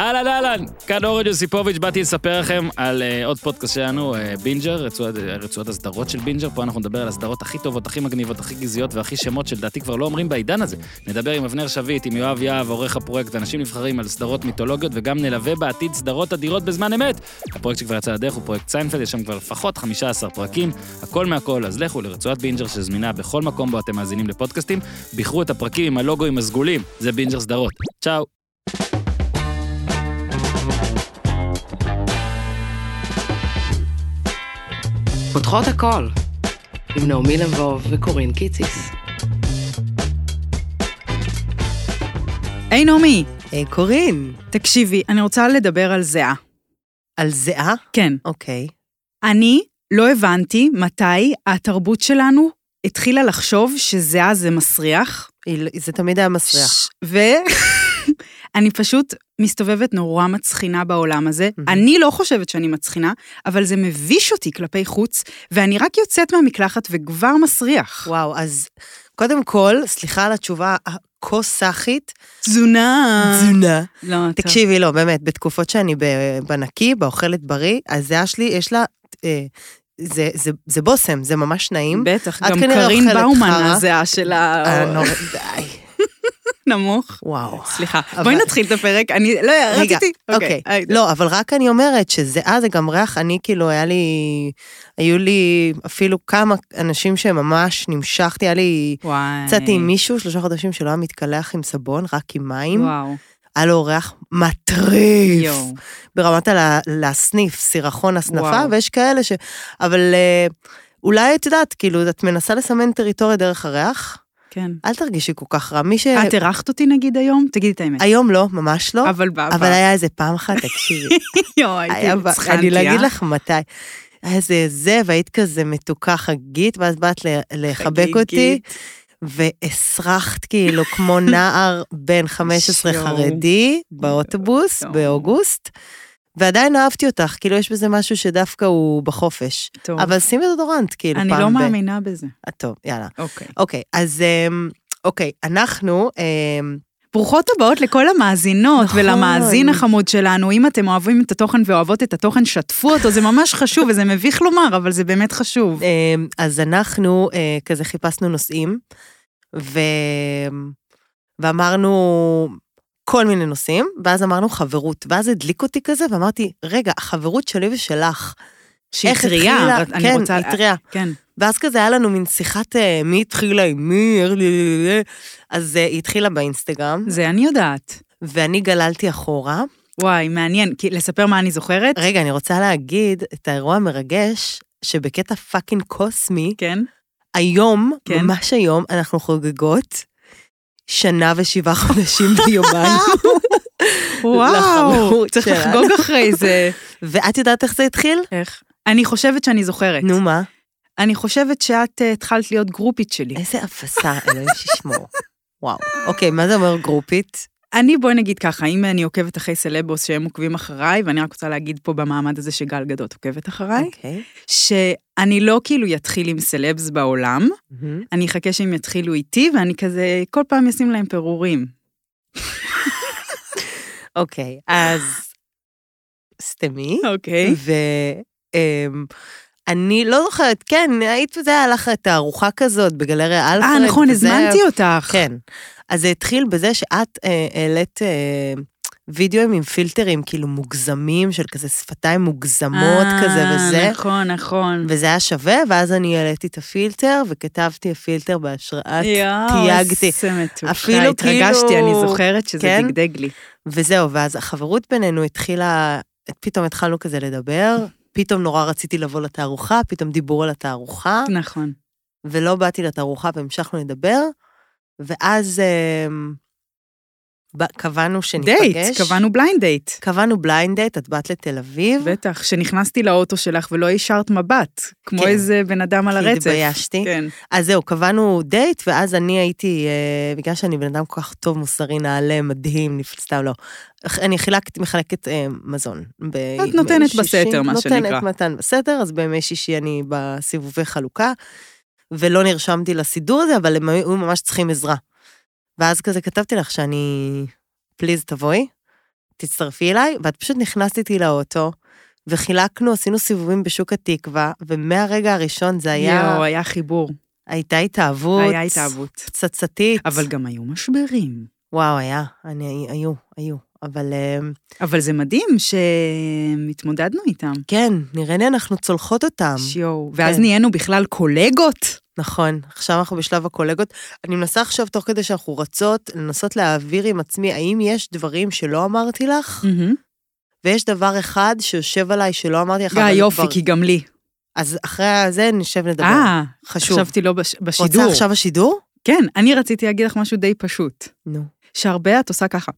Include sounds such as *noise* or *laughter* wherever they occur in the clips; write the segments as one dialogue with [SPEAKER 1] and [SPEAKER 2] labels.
[SPEAKER 1] אהלן אהלן, כאן אורן יוסיפוביץ', באתי לספר לכם על uh, עוד פודקאסט שלנו, uh, בינג'ר, רצועת, רצועת הסדרות של בינג'ר, פה אנחנו נדבר על הסדרות הכי טובות, הכי מגניבות, הכי גזעיות והכי שמות שלדעתי כבר לא אומרים בעידן הזה. נדבר עם אבנר שביט, עם יואב יהב, עורך הפרויקט, אנשים נבחרים על סדרות מיתולוגיות, וגם נלווה בעתיד סדרות אדירות בזמן אמת. הפרויקט שכבר יצא לדרך הוא פרויקט סיינפלד, יש שם כבר לפחות 15 פרקים, הכל מהכל, אז לכו לרצועת בינג'ר שזמינה בכל מקום בו אתם מאזינים לפודקאסטים, בחרו את הפרקים עם הלוגוים הסגולים, זה בינג'ר סדרות. צ'או.
[SPEAKER 2] פותחות הכל, עם נעמי לבוב וקורין קיציס.
[SPEAKER 3] היי נעמי,
[SPEAKER 4] היי קורין,
[SPEAKER 3] תקשיבי, אני רוצה לדבר על זהה.
[SPEAKER 4] על זיעה?
[SPEAKER 3] כן.
[SPEAKER 4] אוקיי.
[SPEAKER 3] אני לא הבנתי מתי התרבות שלנו התחילה לחשוב שזהה זה מסריח.
[SPEAKER 4] היא לא- זה תמיד היה מסריח.
[SPEAKER 3] ש- *laughs* ואני פשוט מסתובבת נורא מצחינה בעולם הזה.
[SPEAKER 4] מהמם.
[SPEAKER 3] אני לא חושבת שאני מצחינה, אבל זה מביש אותי כלפי חוץ, ואני רק יוצאת מהמקלחת וכבר מסריח.
[SPEAKER 4] וואו, אז קודם כל, סליחה על התשובה הכוסאחית.
[SPEAKER 3] תזונה.
[SPEAKER 4] תזונה.
[SPEAKER 3] לא, טוב.
[SPEAKER 4] תקשיבי, לא, באמת, בתקופות שאני ב- בנקי, באוכלת בריא, הזיעה שלי, יש לה... אה, זה- זה- זה בושם, זה ממש נעים.
[SPEAKER 3] בטח,
[SPEAKER 4] את
[SPEAKER 3] גם
[SPEAKER 4] כנראה
[SPEAKER 3] קרין
[SPEAKER 4] אוכלת
[SPEAKER 3] באומן
[SPEAKER 4] חרא.
[SPEAKER 3] הזיעה שלה
[SPEAKER 4] אה, נורא- די,
[SPEAKER 3] נמוך.
[SPEAKER 4] וואו.
[SPEAKER 3] סליחה,
[SPEAKER 4] אבל-
[SPEAKER 3] בואי נתחיל את הפרק, אני לא,
[SPEAKER 4] רגע,
[SPEAKER 3] רציתי, אה,
[SPEAKER 4] אוקיי.
[SPEAKER 3] היי,
[SPEAKER 4] לא, אבל רק אני אומרת שזיעה זה גם ריח, אני כאילו, היה לי... היו לי אפילו כמה אנשים שממש נמשכתי, היה לי...
[SPEAKER 3] וואי.
[SPEAKER 4] יצאתי עם מישהו שלושה חודשים שלא היה מתקלח עם סבון, רק עם מים.
[SPEAKER 3] וואו,
[SPEAKER 4] היה לו ריח מטריף.
[SPEAKER 3] יואו.
[SPEAKER 4] ברמת הלה- להסניף, סירחון הסנפה,
[SPEAKER 3] וואו.
[SPEAKER 4] ויש כאלה ש... אבל אה, אולי את יודעת, כאילו, את מנסה לסמן טריטוריה דרך הריח,
[SPEAKER 3] כן.
[SPEAKER 4] אל תרגישי כל כך רע. מי ש...
[SPEAKER 3] את אירחת אותי נגיד היום? תגידי את האמת.
[SPEAKER 4] אה, היום לא, ממש לא.
[SPEAKER 3] אה, אבל בעבר.
[SPEAKER 4] אבל היה איזה פעם אחת, תקשיבי,
[SPEAKER 3] *laughs* יואו, הייתי
[SPEAKER 4] היה, ב-
[SPEAKER 3] הצחנתי,
[SPEAKER 4] אני לא
[SPEAKER 3] אה?
[SPEAKER 4] אגיד לך מתי. היה איזה זה, והיית כזה מתוקה חגית, ואז באת ל- לחבק אותי,
[SPEAKER 3] חגיגית.
[SPEAKER 4] והסרחת כאילו
[SPEAKER 3] *laughs*
[SPEAKER 4] כמו נער בן 15
[SPEAKER 3] יואו.
[SPEAKER 4] חרדי באוטובוס
[SPEAKER 3] יואו.
[SPEAKER 4] באוגוסט, ועדיין אהבתי אותך, כאילו יש בזה משהו שדווקא הוא בחופש.
[SPEAKER 3] טוב,
[SPEAKER 4] אבל שימי דודורנט, כאילו, פעם
[SPEAKER 3] אני
[SPEAKER 4] ב...
[SPEAKER 3] לא מאמינה בזה.
[SPEAKER 4] אה, טוב, יאללה.
[SPEAKER 3] אוקיי.
[SPEAKER 4] אוקיי, אז אמ, אוקיי, אנחנו, אמ,
[SPEAKER 3] ברוכות הבאות לכל המאזינות
[SPEAKER 4] נכון.
[SPEAKER 3] ולמאזין החמוד שלנו. אם אתם אוהבים את התוכן ואוהבות את התוכן, שתפו אותו, זה ממש חשוב וזה מביך לומר, אבל זה באמת חשוב.
[SPEAKER 4] אמ, אז אנחנו אה, כזה חיפשנו נושאים, ו... ואמרנו כל מיני נושאים, ואז אמרנו חברות, ואז הדליק אותי כזה, ואמרתי, רגע, החברות שלי ושלך,
[SPEAKER 3] שהיא
[SPEAKER 4] איך
[SPEAKER 3] טריה,
[SPEAKER 4] התחילה?
[SPEAKER 3] אבל אני
[SPEAKER 4] כן,
[SPEAKER 3] רוצה...
[SPEAKER 4] היא טריה.
[SPEAKER 3] כן.
[SPEAKER 4] ואז כזה היה לנו מין שיחת אה, מי התחילה עם מי, איך ל- אז אה, היא התחילה באינסטגרם,
[SPEAKER 3] זה אני יודעת.
[SPEAKER 4] ואני גללתי אחורה.
[SPEAKER 3] וואי, מעניין, כי לספר מה אני זוכרת?
[SPEAKER 4] רגע, אני רוצה להגיד את האירוע המרגש, שבקטע פאקינג קוסמי,
[SPEAKER 3] כן.
[SPEAKER 4] היום,
[SPEAKER 3] כן.
[SPEAKER 4] ממש היום, אנחנו חוגגות שנה ושבעה חודשים
[SPEAKER 3] *laughs*
[SPEAKER 4] ביומן.
[SPEAKER 3] וואו,
[SPEAKER 4] לחברות
[SPEAKER 3] צריך
[SPEAKER 4] שלנו.
[SPEAKER 3] לחגוג אחרי זה.
[SPEAKER 4] ואת יודעת איך זה התחיל?
[SPEAKER 3] *laughs* איך? אני חושבת שאני זוכרת.
[SPEAKER 4] נו מה?
[SPEAKER 3] אני חושבת שאת אה, התחלת להיות גרופית שלי.
[SPEAKER 4] איזה אפסה, אלוהים שישמור. וואו. אוקיי, מה זה אומר גרופית?
[SPEAKER 3] אני, בואי נגיד ככה, אם אני עוקבת אחרי סלבוס שהם עוקבים אחריי, ואני רק רוצה להגיד פה במעמד הזה שגל גדות עוקבת אחריי,
[SPEAKER 4] אוקיי.
[SPEAKER 3] שאני לא כאילו יתחיל עם סלבס בעולם,
[SPEAKER 4] מהמם.
[SPEAKER 3] אני אחכה שהם יתחילו איתי, ואני כזה כל פעם אשים להם פירורים.
[SPEAKER 4] אוקיי, אז סתמי.
[SPEAKER 3] אוקיי.
[SPEAKER 4] ואני לא זוכרת, כן, היית, זה היה לך תערוכה כזאת בגלריה אלפרד.
[SPEAKER 3] אה, נכון,
[SPEAKER 4] וזה-
[SPEAKER 3] הזמנתי אותך.
[SPEAKER 4] כן. אז זה התחיל בזה שאת אה, העלית אה, וידאוים עם פילטרים כאילו מוגזמים, של כזה שפתיים מוגזמות
[SPEAKER 3] אה,
[SPEAKER 4] כזה וזה,
[SPEAKER 3] נכון, נכון.
[SPEAKER 4] וזה היה שווה, ואז אני העליתי את הפילטר, וכתבתי הפילטר בהשראת,
[SPEAKER 3] יואו,
[SPEAKER 4] תייגתי.
[SPEAKER 3] איזה מתוקה.
[SPEAKER 4] אפילו
[SPEAKER 3] התרגשתי,
[SPEAKER 4] כאילו-
[SPEAKER 3] אני זוכרת שזה
[SPEAKER 4] כן?
[SPEAKER 3] דגדג לי.
[SPEAKER 4] וזהו, ואז החברות בינינו התחילה, פתאום התחלנו כזה לדבר. פתאום נורא רציתי לבוא לתערוכה, פתאום דיברו על התערוכה,
[SPEAKER 3] נכון.
[SPEAKER 4] ולא באתי לתערוכה והמשכנו לדבר, ואז אה, ב- קבענו שניפגש.
[SPEAKER 3] דייט, קבענו בליינד דייט.
[SPEAKER 4] קבענו בליינד דייט, את באת לתל אביב.
[SPEAKER 3] בטח, שנכנסתי לאוטו שלך ולא השארת מבט, כמו
[SPEAKER 4] כן.
[SPEAKER 3] איזה בן אדם על
[SPEAKER 4] כי
[SPEAKER 3] הרצף.
[SPEAKER 4] התביישתי.
[SPEAKER 3] כן.
[SPEAKER 4] אז זהו, קבענו דייט, ואז אני הייתי, אה, בגלל שאני בן אדם כל כך טוב, מוסרי, נעלה, מדהים, נפ- סתם לא. אח- אני חילקת, מחלקת אה, מזון. ב-
[SPEAKER 3] את נותנת
[SPEAKER 4] בימי שישי,
[SPEAKER 3] בסתר, מה שנקרא.
[SPEAKER 4] נותנת מתן בסתר, אז בימי שישי אני בסיבובי חלוקה, ולא נרשמתי לסידור הזה, אבל הם היו ממש צריכים עזרה. ואז כזה כתבתי לך שאני, פליז תבואי. תצטרפי אליי, ואת פשוט נכנסת איתי לאוטו, וחילקנו, עשינו סיבובים בשוק התקווה, ומהרגע הראשון זה היה,
[SPEAKER 3] יואו, היה חיבור.
[SPEAKER 4] הייתה התאהבות.
[SPEAKER 3] היה התאהבות.
[SPEAKER 4] פצצתית.
[SPEAKER 3] אבל גם היו משברים.
[SPEAKER 4] וואו, היה, אני, היו, היו. אבל אמ,
[SPEAKER 3] אבל זה מדהים שהתמודדנו איתם.
[SPEAKER 4] כן, נראה לי אנחנו צולחות אותם.
[SPEAKER 3] שיואו. ואז
[SPEAKER 4] כן.
[SPEAKER 3] נהיינו בכלל קולגות.
[SPEAKER 4] נכון, עכשיו אנחנו בשלב הקולגות. אני מנסה עכשיו, תוך כדי שאנחנו רצות, לנסות להעביר עם עצמי, האם יש דברים שלא אמרתי לך?
[SPEAKER 3] Mm.
[SPEAKER 4] ויש דבר אחד שיושב עליי שלא אמרתי לך.
[SPEAKER 3] גיא,
[SPEAKER 4] אבל
[SPEAKER 3] יופי,
[SPEAKER 4] כבר-
[SPEAKER 3] כי גם לי.
[SPEAKER 4] אז אחרי זה נשב לדבר.
[SPEAKER 3] אה,
[SPEAKER 4] חשוב.
[SPEAKER 3] חשבתי לא בש- בשידור.
[SPEAKER 4] רוצה עכשיו השידור?
[SPEAKER 3] כן, אני רציתי להגיד לך משהו די פשוט.
[SPEAKER 4] נו.
[SPEAKER 3] שהרבה את עושה ככה.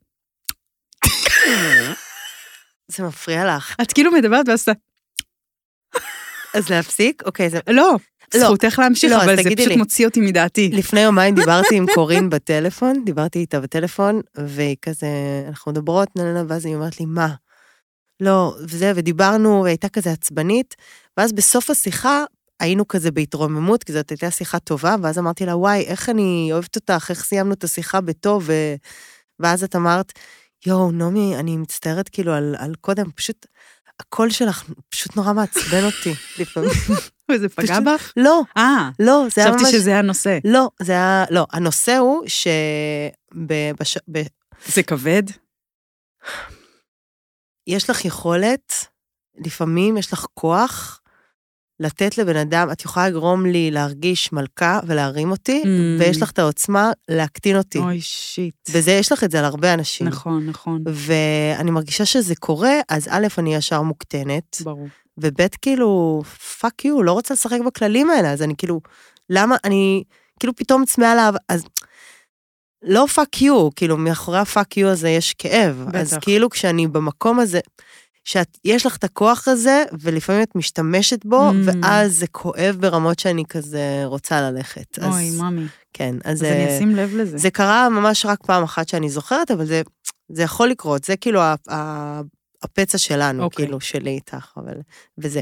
[SPEAKER 4] זה מפריע לך.
[SPEAKER 3] את כאילו מדברת ואז אתה...
[SPEAKER 4] אז להפסיק? אוקיי, זה...
[SPEAKER 3] לא,
[SPEAKER 4] לא.
[SPEAKER 3] זכותך להמשיך,
[SPEAKER 4] לא, אז
[SPEAKER 3] אבל זה
[SPEAKER 4] תגידי
[SPEAKER 3] פשוט
[SPEAKER 4] לי.
[SPEAKER 3] מוציא אותי מדעתי.
[SPEAKER 4] לפני יומיים דיברתי עם קורין בטלפון, דיברתי איתה בטלפון, והיא כזה, אנחנו מדברות, נה, נה, נה, ואז היא אומרת לי, מה? לא, וזה, ודיברנו, והייתה כזה עצבנית, ואז בסוף השיחה היינו כזה בהתרוממות, כי זאת הייתה שיחה טובה, ואז אמרתי לה, וואי, איך אני אוהבת אותך, איך סיימנו את השיחה בטוב, ו... ואז את אמרת, יואו, נעמי, אני מצטערת כאילו על, על קודם, פשוט, הקול שלך פשוט נורא מעצבן אותי לפעמים. *laughs*
[SPEAKER 3] *laughs* וזה פגע
[SPEAKER 4] פשוט-
[SPEAKER 3] בך?
[SPEAKER 4] לא,
[SPEAKER 3] אה,
[SPEAKER 4] לא, זה היה ממש...
[SPEAKER 3] חשבתי שזה הנושא.
[SPEAKER 4] לא, זה היה, לא, הנושא הוא שבש... ב...
[SPEAKER 3] זה כבד?
[SPEAKER 4] יש לך יכולת, לפעמים יש לך כוח, לתת לבן אדם, את יכולה לגרום לי להרגיש מלכה ולהרים אותי,
[SPEAKER 3] Mm.
[SPEAKER 4] כן, ויש לך את העוצמה להקטין אותי. כן.
[SPEAKER 3] אוי, שיט.
[SPEAKER 4] וזה, יש לך את זה על הרבה אנשים.
[SPEAKER 3] נכון, נכון,
[SPEAKER 4] ואני מרגישה שזה קורה, אז א', אני ישר מוקטנת,
[SPEAKER 3] ברור.
[SPEAKER 4] וב', כאילו, פאק יו, לא רוצה לשחק בכללים האלה, אז אני כאילו, למה, אני כאילו פתאום צמאה עליו, אז לא פאק יו, כאילו, מאחורי הפאק יו הזה יש כאב.
[SPEAKER 3] בטח.
[SPEAKER 4] אז כאילו, כשאני במקום הזה, שיש לך את הכוח הזה, ולפעמים את משתמשת בו,
[SPEAKER 3] Mm.
[SPEAKER 4] ואז זה כואב ברמות שאני כזה רוצה ללכת. אז,
[SPEAKER 3] אוי, מאמי.
[SPEAKER 4] כן, אז...
[SPEAKER 3] אז אני
[SPEAKER 4] אה,
[SPEAKER 3] אשים לב לזה.
[SPEAKER 4] זה קרה ממש רק פעם אחת שאני זוכרת, אבל זה, זה יכול לקרות, זה כאילו ה, ה, הפצע שלנו, okay.
[SPEAKER 3] אוקיי.
[SPEAKER 4] כאילו, שלי איתך, אבל... וזה.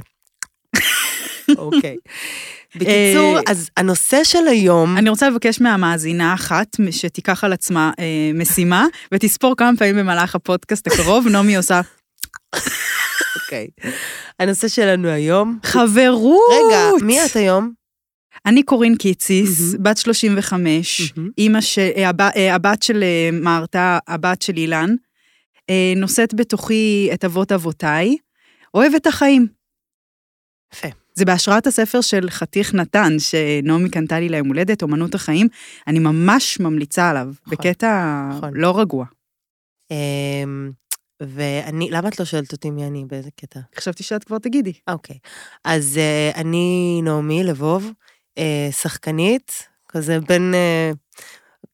[SPEAKER 4] אוקיי. *laughs* בקיצור,
[SPEAKER 3] אה,
[SPEAKER 4] אז הנושא של היום,
[SPEAKER 3] אני רוצה לבקש מהמאזינה אחת שתיקח על עצמה אה, משימה ותספור כמה פעמים במהלך הפודקאסט הקרוב, נעמי
[SPEAKER 4] *laughs*
[SPEAKER 3] עושה
[SPEAKER 4] אוקיי, הנושא שלנו היום,
[SPEAKER 3] חברות.
[SPEAKER 4] רגע, מי את היום?
[SPEAKER 3] אני קורין קיציס,
[SPEAKER 4] מהמם.
[SPEAKER 3] בת 35,
[SPEAKER 4] מהמם.
[SPEAKER 3] אימא ש... אה, הב- אה, הבת של אה, מרתה, הבת של אילן, אה, נושאת בתוכי את אבות אבותיי, אוהבת את החיים.
[SPEAKER 4] יפה.
[SPEAKER 3] זה בהשראת הספר של חתיך נתן, שנעמי קנתה לי ליום הולדת, אומנות החיים. אני ממש ממליצה עליו, בקטע
[SPEAKER 4] נכון.
[SPEAKER 3] לא רגוע.
[SPEAKER 4] אמ, ואני, למה את לא שואלת אותי מי אני, באיזה קטע?
[SPEAKER 3] חשבתי שאת כבר תגידי.
[SPEAKER 4] אוקיי. אז אה, אני נעמי לבוב, אה, שחקנית, כזה בין... אה,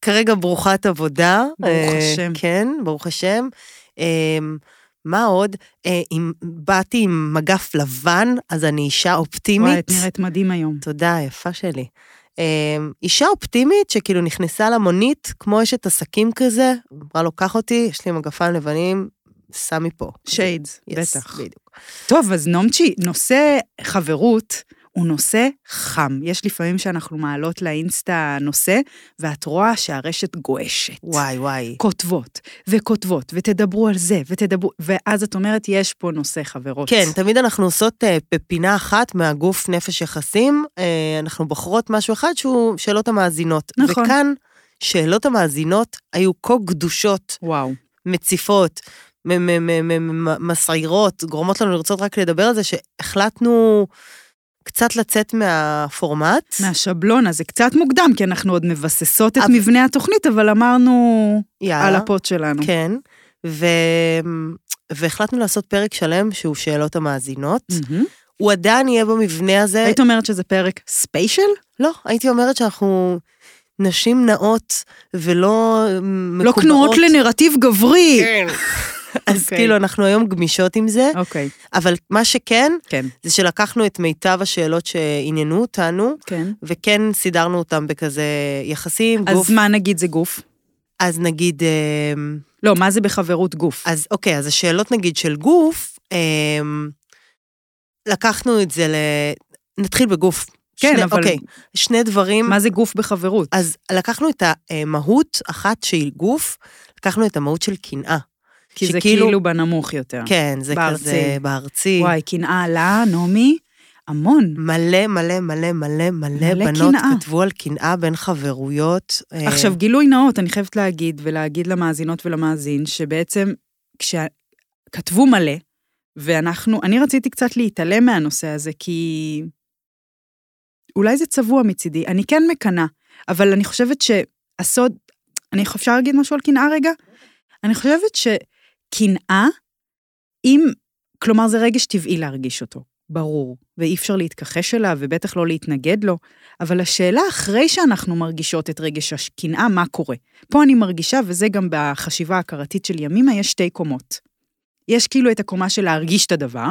[SPEAKER 4] כרגע ברוכת עבודה.
[SPEAKER 3] ברוך
[SPEAKER 4] אה,
[SPEAKER 3] השם.
[SPEAKER 4] כן, ברוך השם. אה, מה עוד? אה, אם באתי עם מגף לבן, אז אני אישה
[SPEAKER 3] וואי, את
[SPEAKER 4] אופטימית.
[SPEAKER 3] נראית מדהים היום.
[SPEAKER 4] תודה, יפה שלי. אה, אישה אופטימית שכאילו נכנסה למונית, כמו אשת עסקים כזה, אמרה לו, קח אותי, יש לי מגפיים לבנים, סע מפה.
[SPEAKER 3] שיידס,
[SPEAKER 4] Yes,
[SPEAKER 3] בטח.
[SPEAKER 4] בדיוק.
[SPEAKER 3] טוב, אז נומצ'י, נושא חברות הוא נושא חם. יש לפעמים שאנחנו מעלות לאינסטה נושא, ואת רואה שהרשת גועשת.
[SPEAKER 4] וואי, וואי.
[SPEAKER 3] כותבות, וכותבות, ותדברו על זה, ותדברו, ואז את אומרת, יש פה נושא חברות.
[SPEAKER 4] כן, תמיד אנחנו עושות אה, בפינה אחת מהגוף נפש יחסים, אה, אנחנו בוחרות משהו אחד שהוא שאלות המאזינות.
[SPEAKER 3] נכון.
[SPEAKER 4] וכאן, שאלות המאזינות היו כה גדושות,
[SPEAKER 3] וואו.
[SPEAKER 4] מציפות, מ- מ- מ- מ- מ- מסעירות, גורמות לנו לרצות רק לדבר על זה, שהחלטנו קצת לצאת מהפורמט.
[SPEAKER 3] מהשבלונה, זה קצת מוקדם, כי אנחנו עוד מבססות את
[SPEAKER 4] אבל-
[SPEAKER 3] מבנה התוכנית, אבל אמרנו על
[SPEAKER 4] יאללה.
[SPEAKER 3] הפוד שלנו.
[SPEAKER 4] כן. ו- והחלטנו לעשות פרק שלם שהוא שאלות המאזינות.
[SPEAKER 3] מהמם.
[SPEAKER 4] הוא עדיין יהיה במבנה הזה.
[SPEAKER 3] היית אומרת שזה פרק ספיישל?
[SPEAKER 4] לא, הייתי אומרת שאנחנו נשים נאות ולא מקובעות.
[SPEAKER 3] לא כנועות לנרטיב גברי. *laughs*
[SPEAKER 4] כן. אז
[SPEAKER 3] אוקיי.
[SPEAKER 4] כאילו, אנחנו היום גמישות עם זה,
[SPEAKER 3] אוקיי,
[SPEAKER 4] אבל מה שכן,
[SPEAKER 3] כן.
[SPEAKER 4] זה שלקחנו את מיטב השאלות שעניינו אותנו,
[SPEAKER 3] כן.
[SPEAKER 4] וכן סידרנו אותם בכזה יחסים, גוף.
[SPEAKER 3] אז מה נגיד זה גוף?
[SPEAKER 4] אז נגיד, אמ,
[SPEAKER 3] לא, מה זה בחברות גוף?
[SPEAKER 4] אז אוקיי, אז השאלות נגיד של גוף, אמ, לקחנו את זה ל... נתחיל בגוף.
[SPEAKER 3] כן,
[SPEAKER 4] שני-
[SPEAKER 3] אבל
[SPEAKER 4] אוקיי, שני דברים.
[SPEAKER 3] מה זה גוף בחברות?
[SPEAKER 4] אז לקחנו את המהות אחת שהיא גוף, לקחנו את המהות של קנאה.
[SPEAKER 3] כי זה
[SPEAKER 4] שכאילו-
[SPEAKER 3] כאילו בנמוך יותר.
[SPEAKER 4] כן, זה
[SPEAKER 3] בארצי.
[SPEAKER 4] כזה בארצי.
[SPEAKER 3] וואי, קנאה לה, נעמי, המון.
[SPEAKER 4] מלא מלא מלא מלא מלא
[SPEAKER 3] מלא
[SPEAKER 4] בנות
[SPEAKER 3] קנאה.
[SPEAKER 4] כתבו על קנאה בין חברויות. אה,
[SPEAKER 3] עכשיו, גילוי נאות, אני חייבת להגיד, ולהגיד למאזינות ולמאזין, שבעצם כשכתבו מלא, ואנחנו, אני רציתי קצת להתעלם מהנושא הזה, כי אולי זה צבוע מצידי, אני כן מקנאה, אבל אני חושבת שהסוד, אני אפשר להגיד משהו על קנאה רגע? אני חושבת שקנאה, אם, כלומר זה רגש טבעי להרגיש אותו, ברור, ואי אפשר להתכחש אליו, ובטח לא להתנגד לו, אבל השאלה אחרי שאנחנו מרגישות את רגש הקנאה, מה קורה? פה אני מרגישה, וזה גם בחשיבה ההכרתית של ימימה, יש שתי קומות. יש כאילו את הקומה של להרגיש את הדבר,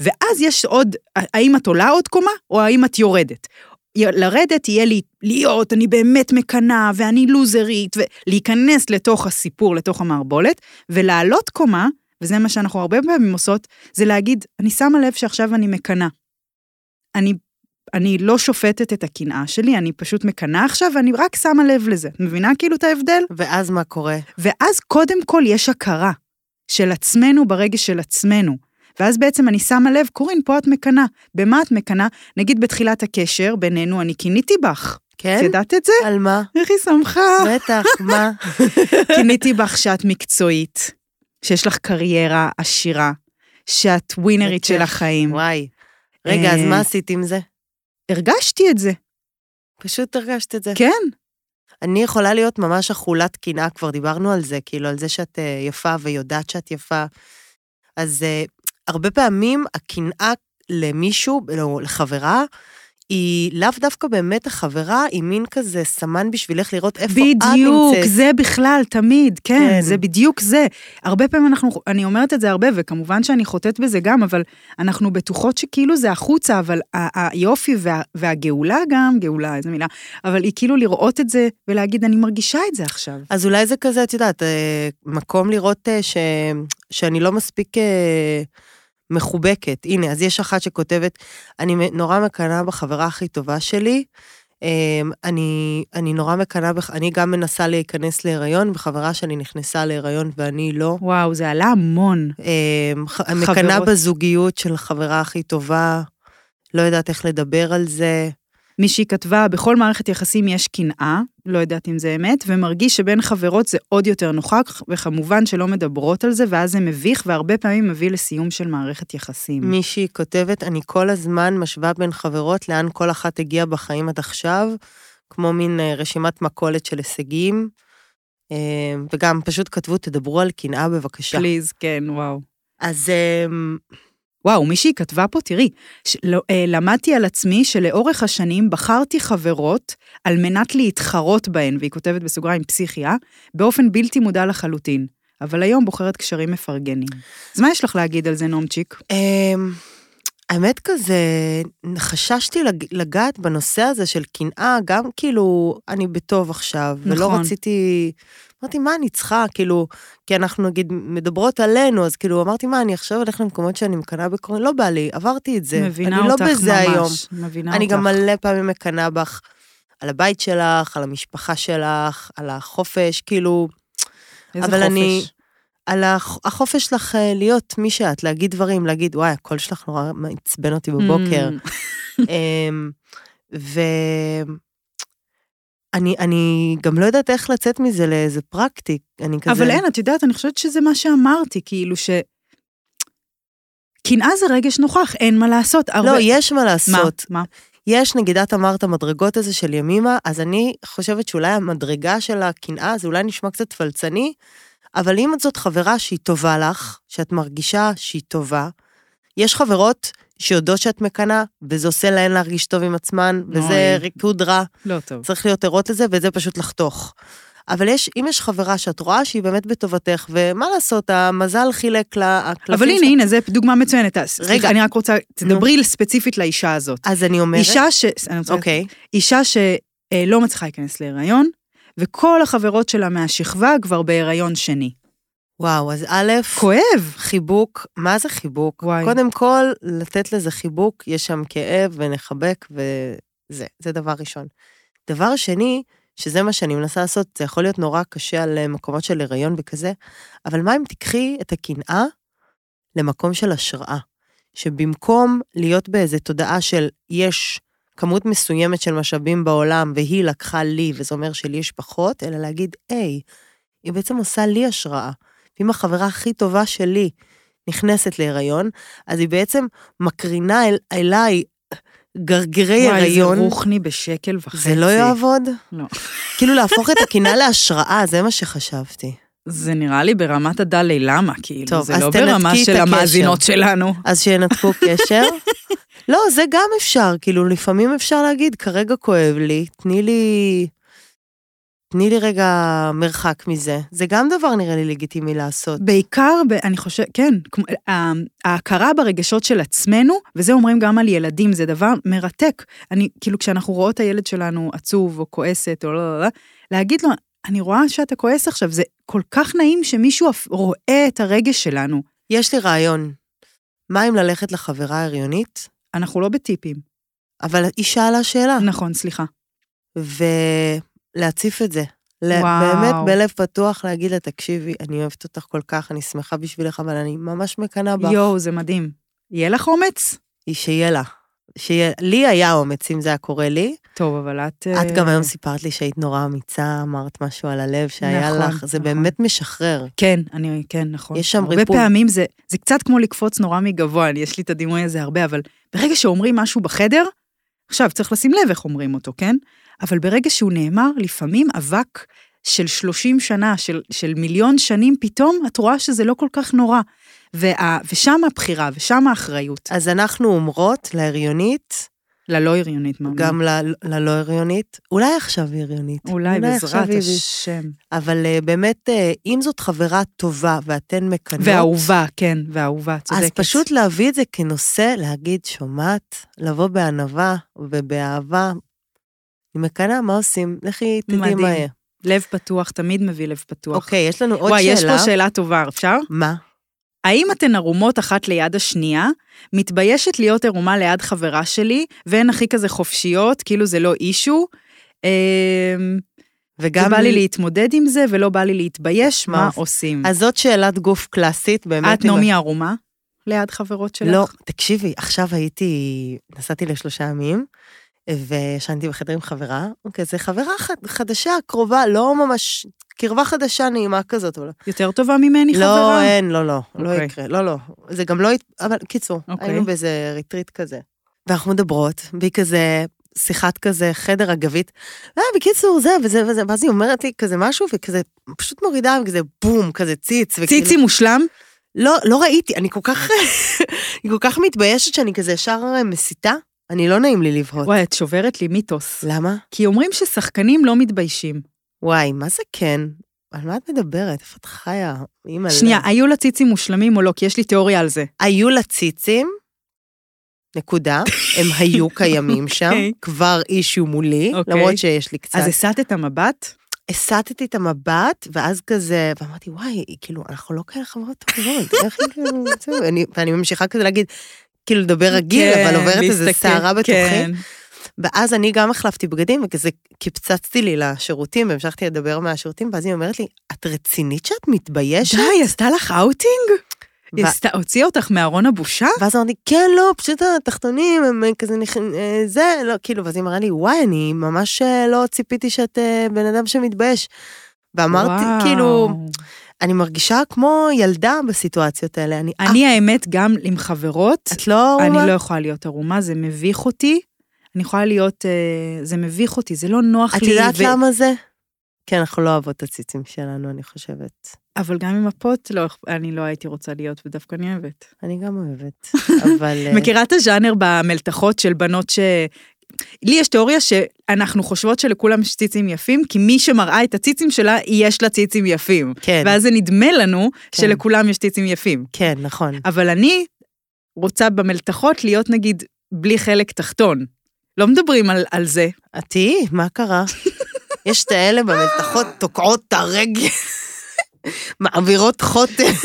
[SPEAKER 3] ואז יש עוד, האם את עולה עוד קומה, או האם את יורדת? י- לרדת יהיה לי, להיות, אני באמת מקנאה, ואני לוזרית, ולהיכנס לתוך הסיפור, לתוך המערבולת, ולעלות קומה, וזה מה שאנחנו הרבה פעמים עושות, זה להגיד, אני שמה לב שעכשיו אני מקנאה. אני אני לא שופטת את הקנאה שלי, אני פשוט מקנאה עכשיו, ואני רק שמה לב לזה. את מבינה כאילו את ההבדל?
[SPEAKER 4] ואז מה קורה?
[SPEAKER 3] ואז קודם כל יש הכרה של עצמנו ברגש של עצמנו. ואז בעצם אני שמה לב, קורין, פה את מקנאה. במה את מקנאה? נגיד בתחילת הקשר בינינו, אני קיניתי בך. את
[SPEAKER 4] כן?
[SPEAKER 3] ידעת את זה?
[SPEAKER 4] על מה?
[SPEAKER 3] איך היא
[SPEAKER 4] *laughs*
[SPEAKER 3] שמחה?
[SPEAKER 4] בטח,
[SPEAKER 3] *laughs*
[SPEAKER 4] מה?
[SPEAKER 3] קיניתי בך שאת מקצועית, שיש לך קריירה עשירה, שאת ווינרית של
[SPEAKER 4] בכיף.
[SPEAKER 3] החיים.
[SPEAKER 4] וואי. רגע, אז
[SPEAKER 3] אה,
[SPEAKER 4] מה עשית עם זה?
[SPEAKER 3] הרגשתי את זה,
[SPEAKER 4] פשוט הרגשת את זה.
[SPEAKER 3] כן.
[SPEAKER 4] אני יכולה להיות ממש אכולת קנאה, כבר דיברנו על זה, כאילו, על זה שאת אה, יפה ויודעת שאת יפה. אז אה, הרבה פעמים הקנאה למישהו, לא, לחברה, היא לאו דווקא באמת החברה, היא מין כזה סמן בשבילך לראות איפה את
[SPEAKER 3] בדיוק,
[SPEAKER 4] נמצאת.
[SPEAKER 3] זה בכלל, תמיד, כן,
[SPEAKER 4] כן.
[SPEAKER 3] כן, זה בדיוק זה. הרבה פעמים אנחנו, אני אומרת את זה הרבה, וכמובן שאני חוטאת בזה גם, אבל אנחנו בטוחות שכאילו זה החוצה, אבל ה- היופי וה, והגאולה גם, גאולה, איזה מילה, אבל היא כאילו לראות את זה ולהגיד, אני מרגישה את זה עכשיו.
[SPEAKER 4] אז אולי זה כזה, את יודעת, אה, מקום לראות אה, ש... שאני לא מספיק אה, מחובקת. הנה, אז יש אחת שכותבת, אני מ- נורא מקנאה בחברה הכי טובה שלי. אה, אני, אני נורא מקנאה, בח... אני גם מנסה להיכנס להיריון, וחברה שלי נכנסה להיריון ואני לא.
[SPEAKER 3] וואו, זה עלה המון.
[SPEAKER 4] אה, ח- מקנאה
[SPEAKER 3] חברות.
[SPEAKER 4] בזוגיות של חברה הכי טובה, לא יודעת איך לדבר על זה.
[SPEAKER 3] מישהי כתבה, בכל מערכת יחסים יש קנאה, לא יודעת אם זה אמת, ומרגיש שבין חברות זה עוד יותר נוכח, וכמובן שלא מדברות על זה, ואז זה מביך, והרבה פעמים מביא לסיום של מערכת יחסים.
[SPEAKER 4] מישהי כותבת, אני כל הזמן משווה בין חברות לאן כל אחת הגיעה בחיים עד עכשיו, כמו מין אה, רשימת מכולת של הישגים. אה, וגם פשוט כתבו, תדברו על קנאה בבקשה.
[SPEAKER 3] פליז, כן, וואו.
[SPEAKER 4] אז אה,
[SPEAKER 3] וואו, מישהי כתבה פה, תראי, ש- לא- אה, למדתי על עצמי שלאורך השנים בחרתי חברות על מנת להתחרות בהן, והיא כותבת בסוגריים פסיכיה, באופן בלתי מודע לחלוטין. אבל היום בוחרת קשרים מפרגנים. אז מה יש לך להגיד על זה, נעמצ'יק?
[SPEAKER 4] אמ, האמת כזה, חששתי לג- לגעת בנושא הזה של קנאה, גם כאילו, אני בטוב עכשיו, ולא
[SPEAKER 3] נכון.
[SPEAKER 4] רציתי... אמרתי, מה אני צריכה? כאילו, כי אנחנו נגיד מדברות עלינו, אז כאילו, אמרתי, מה, אני עכשיו הולכת למקומות שאני מקנאה בקורונה? לא בא לי, עברתי את זה.
[SPEAKER 3] מבינה
[SPEAKER 4] אני
[SPEAKER 3] אותך
[SPEAKER 4] לא בזה
[SPEAKER 3] ממש.
[SPEAKER 4] היום.
[SPEAKER 3] מבינה
[SPEAKER 4] אני
[SPEAKER 3] אותך.
[SPEAKER 4] גם מלא פעמים מקנאה בך, על הבית שלך, על המשפחה שלך, על החופש, כאילו,
[SPEAKER 3] איזה
[SPEAKER 4] אבל
[SPEAKER 3] חופש.
[SPEAKER 4] אני- על הח- החופש שלך אה, להיות מי שאת, להגיד דברים, להגיד, וואי, הקול שלך נורא מעצבן אותי בבוקר.
[SPEAKER 3] Mm,
[SPEAKER 4] אמ, ו... אני, אני גם לא יודעת איך לצאת מזה לאיזה פרקטי, אני כזה...
[SPEAKER 3] אבל אין, את יודעת, אני חושבת שזה מה שאמרתי, כאילו ש... קנאה זה רגש נוכח, אין מה לעשות.
[SPEAKER 4] לא,
[SPEAKER 3] הרבה-
[SPEAKER 4] יש מה
[SPEAKER 3] מה?
[SPEAKER 4] לעשות.
[SPEAKER 3] מה?
[SPEAKER 4] יש, נגיד, את אמרת המדרגות הזה של ימימה, אז אני חושבת שאולי המדרגה של הקנאה, זה אולי נשמע קצת פלצני, אבל אם את זאת חברה שהיא טובה לך, שאת מרגישה שהיא טובה, יש חברות שיודעות שאת מקנאה, וזה עושה להן להרגיש טוב עם עצמן, וזה
[SPEAKER 3] אוי.
[SPEAKER 4] ריקוד רע.
[SPEAKER 3] לא טוב.
[SPEAKER 4] צריך להיות ערות לזה, ואת זה פשוט לחתוך. אבל יש, אם יש חברה שאת רואה שהיא באמת בטובתך, ומה לעשות, המזל חילק לה, הקלפים
[SPEAKER 3] אבל הנה,
[SPEAKER 4] שלה-
[SPEAKER 3] הנה, זו דוגמה מצוינת. אז
[SPEAKER 4] לא רגע.
[SPEAKER 3] סליחה, אני רק רוצה, תדברי ספציפית לאישה הזאת.
[SPEAKER 4] אז אני אומרת,
[SPEAKER 3] אישה ש... אני רוצה-
[SPEAKER 4] אוקיי,
[SPEAKER 3] אישה שלא מצליחה להיכנס להיריון, וכל החברות שלה מהשכבה כבר בהיריון שני.
[SPEAKER 4] וואו, אז א',
[SPEAKER 3] כואב.
[SPEAKER 4] חיבוק, מה זה חיבוק?
[SPEAKER 3] וואי.
[SPEAKER 4] קודם כל, לתת לזה חיבוק, יש שם כאב ונחבק וזה, זה דבר ראשון. דבר שני, שזה מה שאני מנסה לעשות, זה יכול להיות נורא קשה על אה, מקומות של הריון וכזה, אבל מה אם תיקחי את הקנאה למקום של השראה? שבמקום להיות באיזו תודעה של יש כמות מסוימת של משאבים בעולם והיא לקחה לי, וזה אומר שלי יש פחות, אלא להגיד, היי, היא בעצם עושה לי השראה. ואם החברה הכי טובה שלי נכנסת להיריון, אז היא בעצם מקרינה אל, אליי גרגירי
[SPEAKER 3] וואי, זה
[SPEAKER 4] הריון.
[SPEAKER 3] רוחני בשקל וחצי.
[SPEAKER 4] זה לא יעבוד?
[SPEAKER 3] לא.
[SPEAKER 4] כאילו להפוך את הקנאה להשראה, זה מה שחשבי.
[SPEAKER 3] זה נראה לי ברמת הדלי למה, כאילו,
[SPEAKER 4] טוב,
[SPEAKER 3] זה
[SPEAKER 4] אז
[SPEAKER 3] לא
[SPEAKER 4] תנתקי
[SPEAKER 3] ברמה
[SPEAKER 4] את
[SPEAKER 3] של
[SPEAKER 4] הקשר.
[SPEAKER 3] המאזינות שלנו.
[SPEAKER 4] אז שינתקו קשר. לא, זה גם אפשר, כאילו, לפעמים אפשר להגיד, כרגע כואב לי, תני לי... תני לי רגע מרחק מזה. זה גם דבר נראה לי לגיטימי לעשות.
[SPEAKER 3] בעיקר, ב- אני חושבת, כן, כמו- ה- ההכרה ברגשות של עצמנו, וזה אומרים גם על ילדים, זה דבר מרתק. אני, כאילו, כשאנחנו רואות את הילד שלנו עצוב או כועסת או לא, לא, לא, להגיד לו, אני רואה שאתה כועס עכשיו, זה כל כך נעים שמישהו אפ- רואה את הרגש שלנו.
[SPEAKER 4] יש לי רעיון. מה אם ללכת לחברה הריונית?
[SPEAKER 3] אנחנו לא בטיפים.
[SPEAKER 4] אבל היא שאלה שאלה,
[SPEAKER 3] נכון, סליחה.
[SPEAKER 4] ולהציף את זה. ל-
[SPEAKER 3] וואו.
[SPEAKER 4] באמת בלב פתוח להגיד לה, תקשיבי, אני אוהבת אותך כל כך, אני שמחה בשבילך, אבל אני ממש מקנאה בך.
[SPEAKER 3] יואו, זה מדהים. יהיה לך אומץ?
[SPEAKER 4] היא שיהיה לה. שיהיה, לי היה אומץ אם זה היה קורה לי.
[SPEAKER 3] טוב, אבל את... אה,
[SPEAKER 4] את גם היום סיפרת לי שהיית נורא אמיצה, אמרת משהו על הלב שהיה
[SPEAKER 3] נכון,
[SPEAKER 4] לך, זה
[SPEAKER 3] נכון.
[SPEAKER 4] באמת משחרר.
[SPEAKER 3] כן, אני, כן, נכון.
[SPEAKER 4] יש שם
[SPEAKER 3] הרבה
[SPEAKER 4] ריפוי.
[SPEAKER 3] פעמים זה, זה קצת כמו לקפוץ נורא מגבוה, אני- יש לי את הדימוי הזה הרבה, אבל ברגע שאומרים משהו בחדר, עכשיו, צריך לשים לב איך אומרים אותו, כן? אבל ברגע שהוא נאמר, לפעמים אבק של 30 שנה, של, של מיליון שנים, פתאום את רואה שזה לא כל כך נורא. וה, ושם הבחירה, ושם האחריות.
[SPEAKER 4] אז אנחנו אומרות להריונית,
[SPEAKER 3] ללא הריונית, מאמין.
[SPEAKER 4] גם ל- ללא הריונית, אולי עכשיו היא הריונית.
[SPEAKER 3] Mm-hmm. אולי
[SPEAKER 4] עכשיו
[SPEAKER 3] בעזרת
[SPEAKER 4] היא-
[SPEAKER 3] השם.
[SPEAKER 4] אבל אה, באמת, אה, אם זאת חברה טובה ואתן מקנות,
[SPEAKER 3] ואהובה, כן, ואהובה, צודקת.
[SPEAKER 4] אז פשוט להביא את זה כנושא, להגיד, שומעת, לבוא בענווה ובאהבה. אני מקנאה, מה עושים? לכי, תדעי
[SPEAKER 3] מדהים.
[SPEAKER 4] מה יהיה.
[SPEAKER 3] לב פתוח תמיד מביא לב פתוח.
[SPEAKER 4] אוקיי, יש לנו עוד
[SPEAKER 3] וואי, יש
[SPEAKER 4] שאלה.
[SPEAKER 3] פה שאלה טובה, אפשר?
[SPEAKER 4] מה?
[SPEAKER 3] האם אתן ערומות אחת ליד השנייה? מתביישת להיות ערומה ליד חברה שלי, והן הכי כזה חופשיות, כאילו זה לא אישו. אמ,
[SPEAKER 4] וגם...
[SPEAKER 3] ובא לי להתמודד עם זה, ולא בא לי להתבייש,
[SPEAKER 4] מה
[SPEAKER 3] מה
[SPEAKER 4] עוש-
[SPEAKER 3] עושים?
[SPEAKER 4] אז זאת שאלת גוף קלאסית, באמת.
[SPEAKER 3] את
[SPEAKER 4] עם
[SPEAKER 3] נעמי ערומה? ליד חברות שלך?
[SPEAKER 4] לא, תקשיבי, עכשיו הייתי, נסעתי לשלושה ימים, וישנתי בחדר עם חברה, אוקיי, זה חברה חד, חדשה, קרובה, לא ממש, קרבה חדשה נעימה כזאת, אבל...
[SPEAKER 3] יותר טובה ממני
[SPEAKER 4] לא,
[SPEAKER 3] חברה?
[SPEAKER 4] אין, לא, לא, לא
[SPEAKER 3] אוקיי.
[SPEAKER 4] יקרה, לא, לא. זה גם לא... הת- אבל קיצור,
[SPEAKER 3] אוקיי.
[SPEAKER 4] היינו באיזה ריטריט כזה. ואנחנו מדברות, והיא כזה, שיחת כזה, חדר אגבית. אה, בקיצור, זה וזה וזה, ואז היא אומרת לי כזה משהו, וכזה, פשוט מורידה, וכזה בום, כזה ציץ. וכאילו-
[SPEAKER 3] ציצי מושלם?
[SPEAKER 4] לא, לא ראיתי, אני כל כך, *laughs* אני כל כך מתביישת שאני כזה ישר אה, מסיתה, אני לא נעים לי לבהות.
[SPEAKER 3] וואי, את שוברת לי מיתוס.
[SPEAKER 4] למה?
[SPEAKER 3] כי אומרים ששחקנים לא מתביישים.
[SPEAKER 4] וואי, מה זה כן? על מה את מדברת? איפה את חיה? אימא'לה.
[SPEAKER 3] שנייה, היו לה ציצים מושלמים או לא? כי יש לי תיאוריה על זה.
[SPEAKER 4] היו לה ציצים,
[SPEAKER 3] *laughs*
[SPEAKER 4] נקודה, הם היו קיימים שם,
[SPEAKER 3] אוקיי.
[SPEAKER 4] כבר אישיו מולי,
[SPEAKER 3] אוקיי.
[SPEAKER 4] למרות שיש לי קצת.
[SPEAKER 3] אז הסטת את המבט?
[SPEAKER 4] הסטתי את המבט, ואז כזה, ואמרתי, וואי, היא כאילו, אנחנו לא כאלה
[SPEAKER 3] *laughs*
[SPEAKER 4] חברות טובות, איך היא כאילו, זהו, ואני- ואני ממשיכה כזה להגיד, כאילו, לדבר רגיל, אבל עוברת איזה
[SPEAKER 3] כן, להסתכל,
[SPEAKER 4] סערה בתוכי.
[SPEAKER 3] כן.
[SPEAKER 4] ואז אני גם החלפתי בגדים, וכזה קיפצצתי לי לשירותים, והמשכתי לדבר מהשירותים, ואז היא אומרת לי, את רצינית שאת מתביישת?
[SPEAKER 3] *laughs* די, עשתה לך אאוטינג? היא
[SPEAKER 4] ו-
[SPEAKER 3] עשתה- הוציאה אותך מארון הבושה?
[SPEAKER 4] ואז אמרתי, כן, לא, פשוט התחתונים, הם אה, כזה נכ... אה, זה, לא, כאילו, ואז היא אמרה לי, וואי, אני ממש אה, לא ציפיתי שאת אה, בן אדם שמתבייש. ואמרתי,
[SPEAKER 3] וואו.
[SPEAKER 4] כאילו, אני מרגישה כמו ילדה בסיטואציות האלה, אני, אני...
[SPEAKER 3] אני האמת, גם עם חברות,
[SPEAKER 4] אה. את לא ערומה?
[SPEAKER 3] אני לא יכולה להיות ערומה, זה מביך אותי. אני יכולה להיות, אה, זה מביך אותי, זה לא נוח לי.
[SPEAKER 4] את יודעת
[SPEAKER 3] ו-
[SPEAKER 4] למה זה? כן, אנחנו לא אוהבות את הציצים שלנו, אני חושבת.
[SPEAKER 3] אבל גם עם הפוט, לא, אכפ- אני לא הייתי רוצה להיות, ודווקא אני אוהבת.
[SPEAKER 4] אני גם
[SPEAKER 3] *laughs*
[SPEAKER 4] אוהבת, אבל... אה,
[SPEAKER 3] מכירה את הז'אנר במלתחות של בנות ש... לי יש תיאוריה שאנחנו חושבות שלכולם יש ציצים יפים, כי מי שמראה את הציצים שלה, יש לה ציצים יפים.
[SPEAKER 4] כן,
[SPEAKER 3] ואז זה נדמה לנו
[SPEAKER 4] כן.
[SPEAKER 3] שלכולם יש ציצים יפים.
[SPEAKER 4] כן, נכון.
[SPEAKER 3] אבל אני רוצה במלתחות להיות נגיד בלי חלק תחתון. לא מדברים על, על זה.
[SPEAKER 4] את תהיי, מה קרה? יש את האלה במלתחות תוקעות את הרגל. מעבירות חוטף.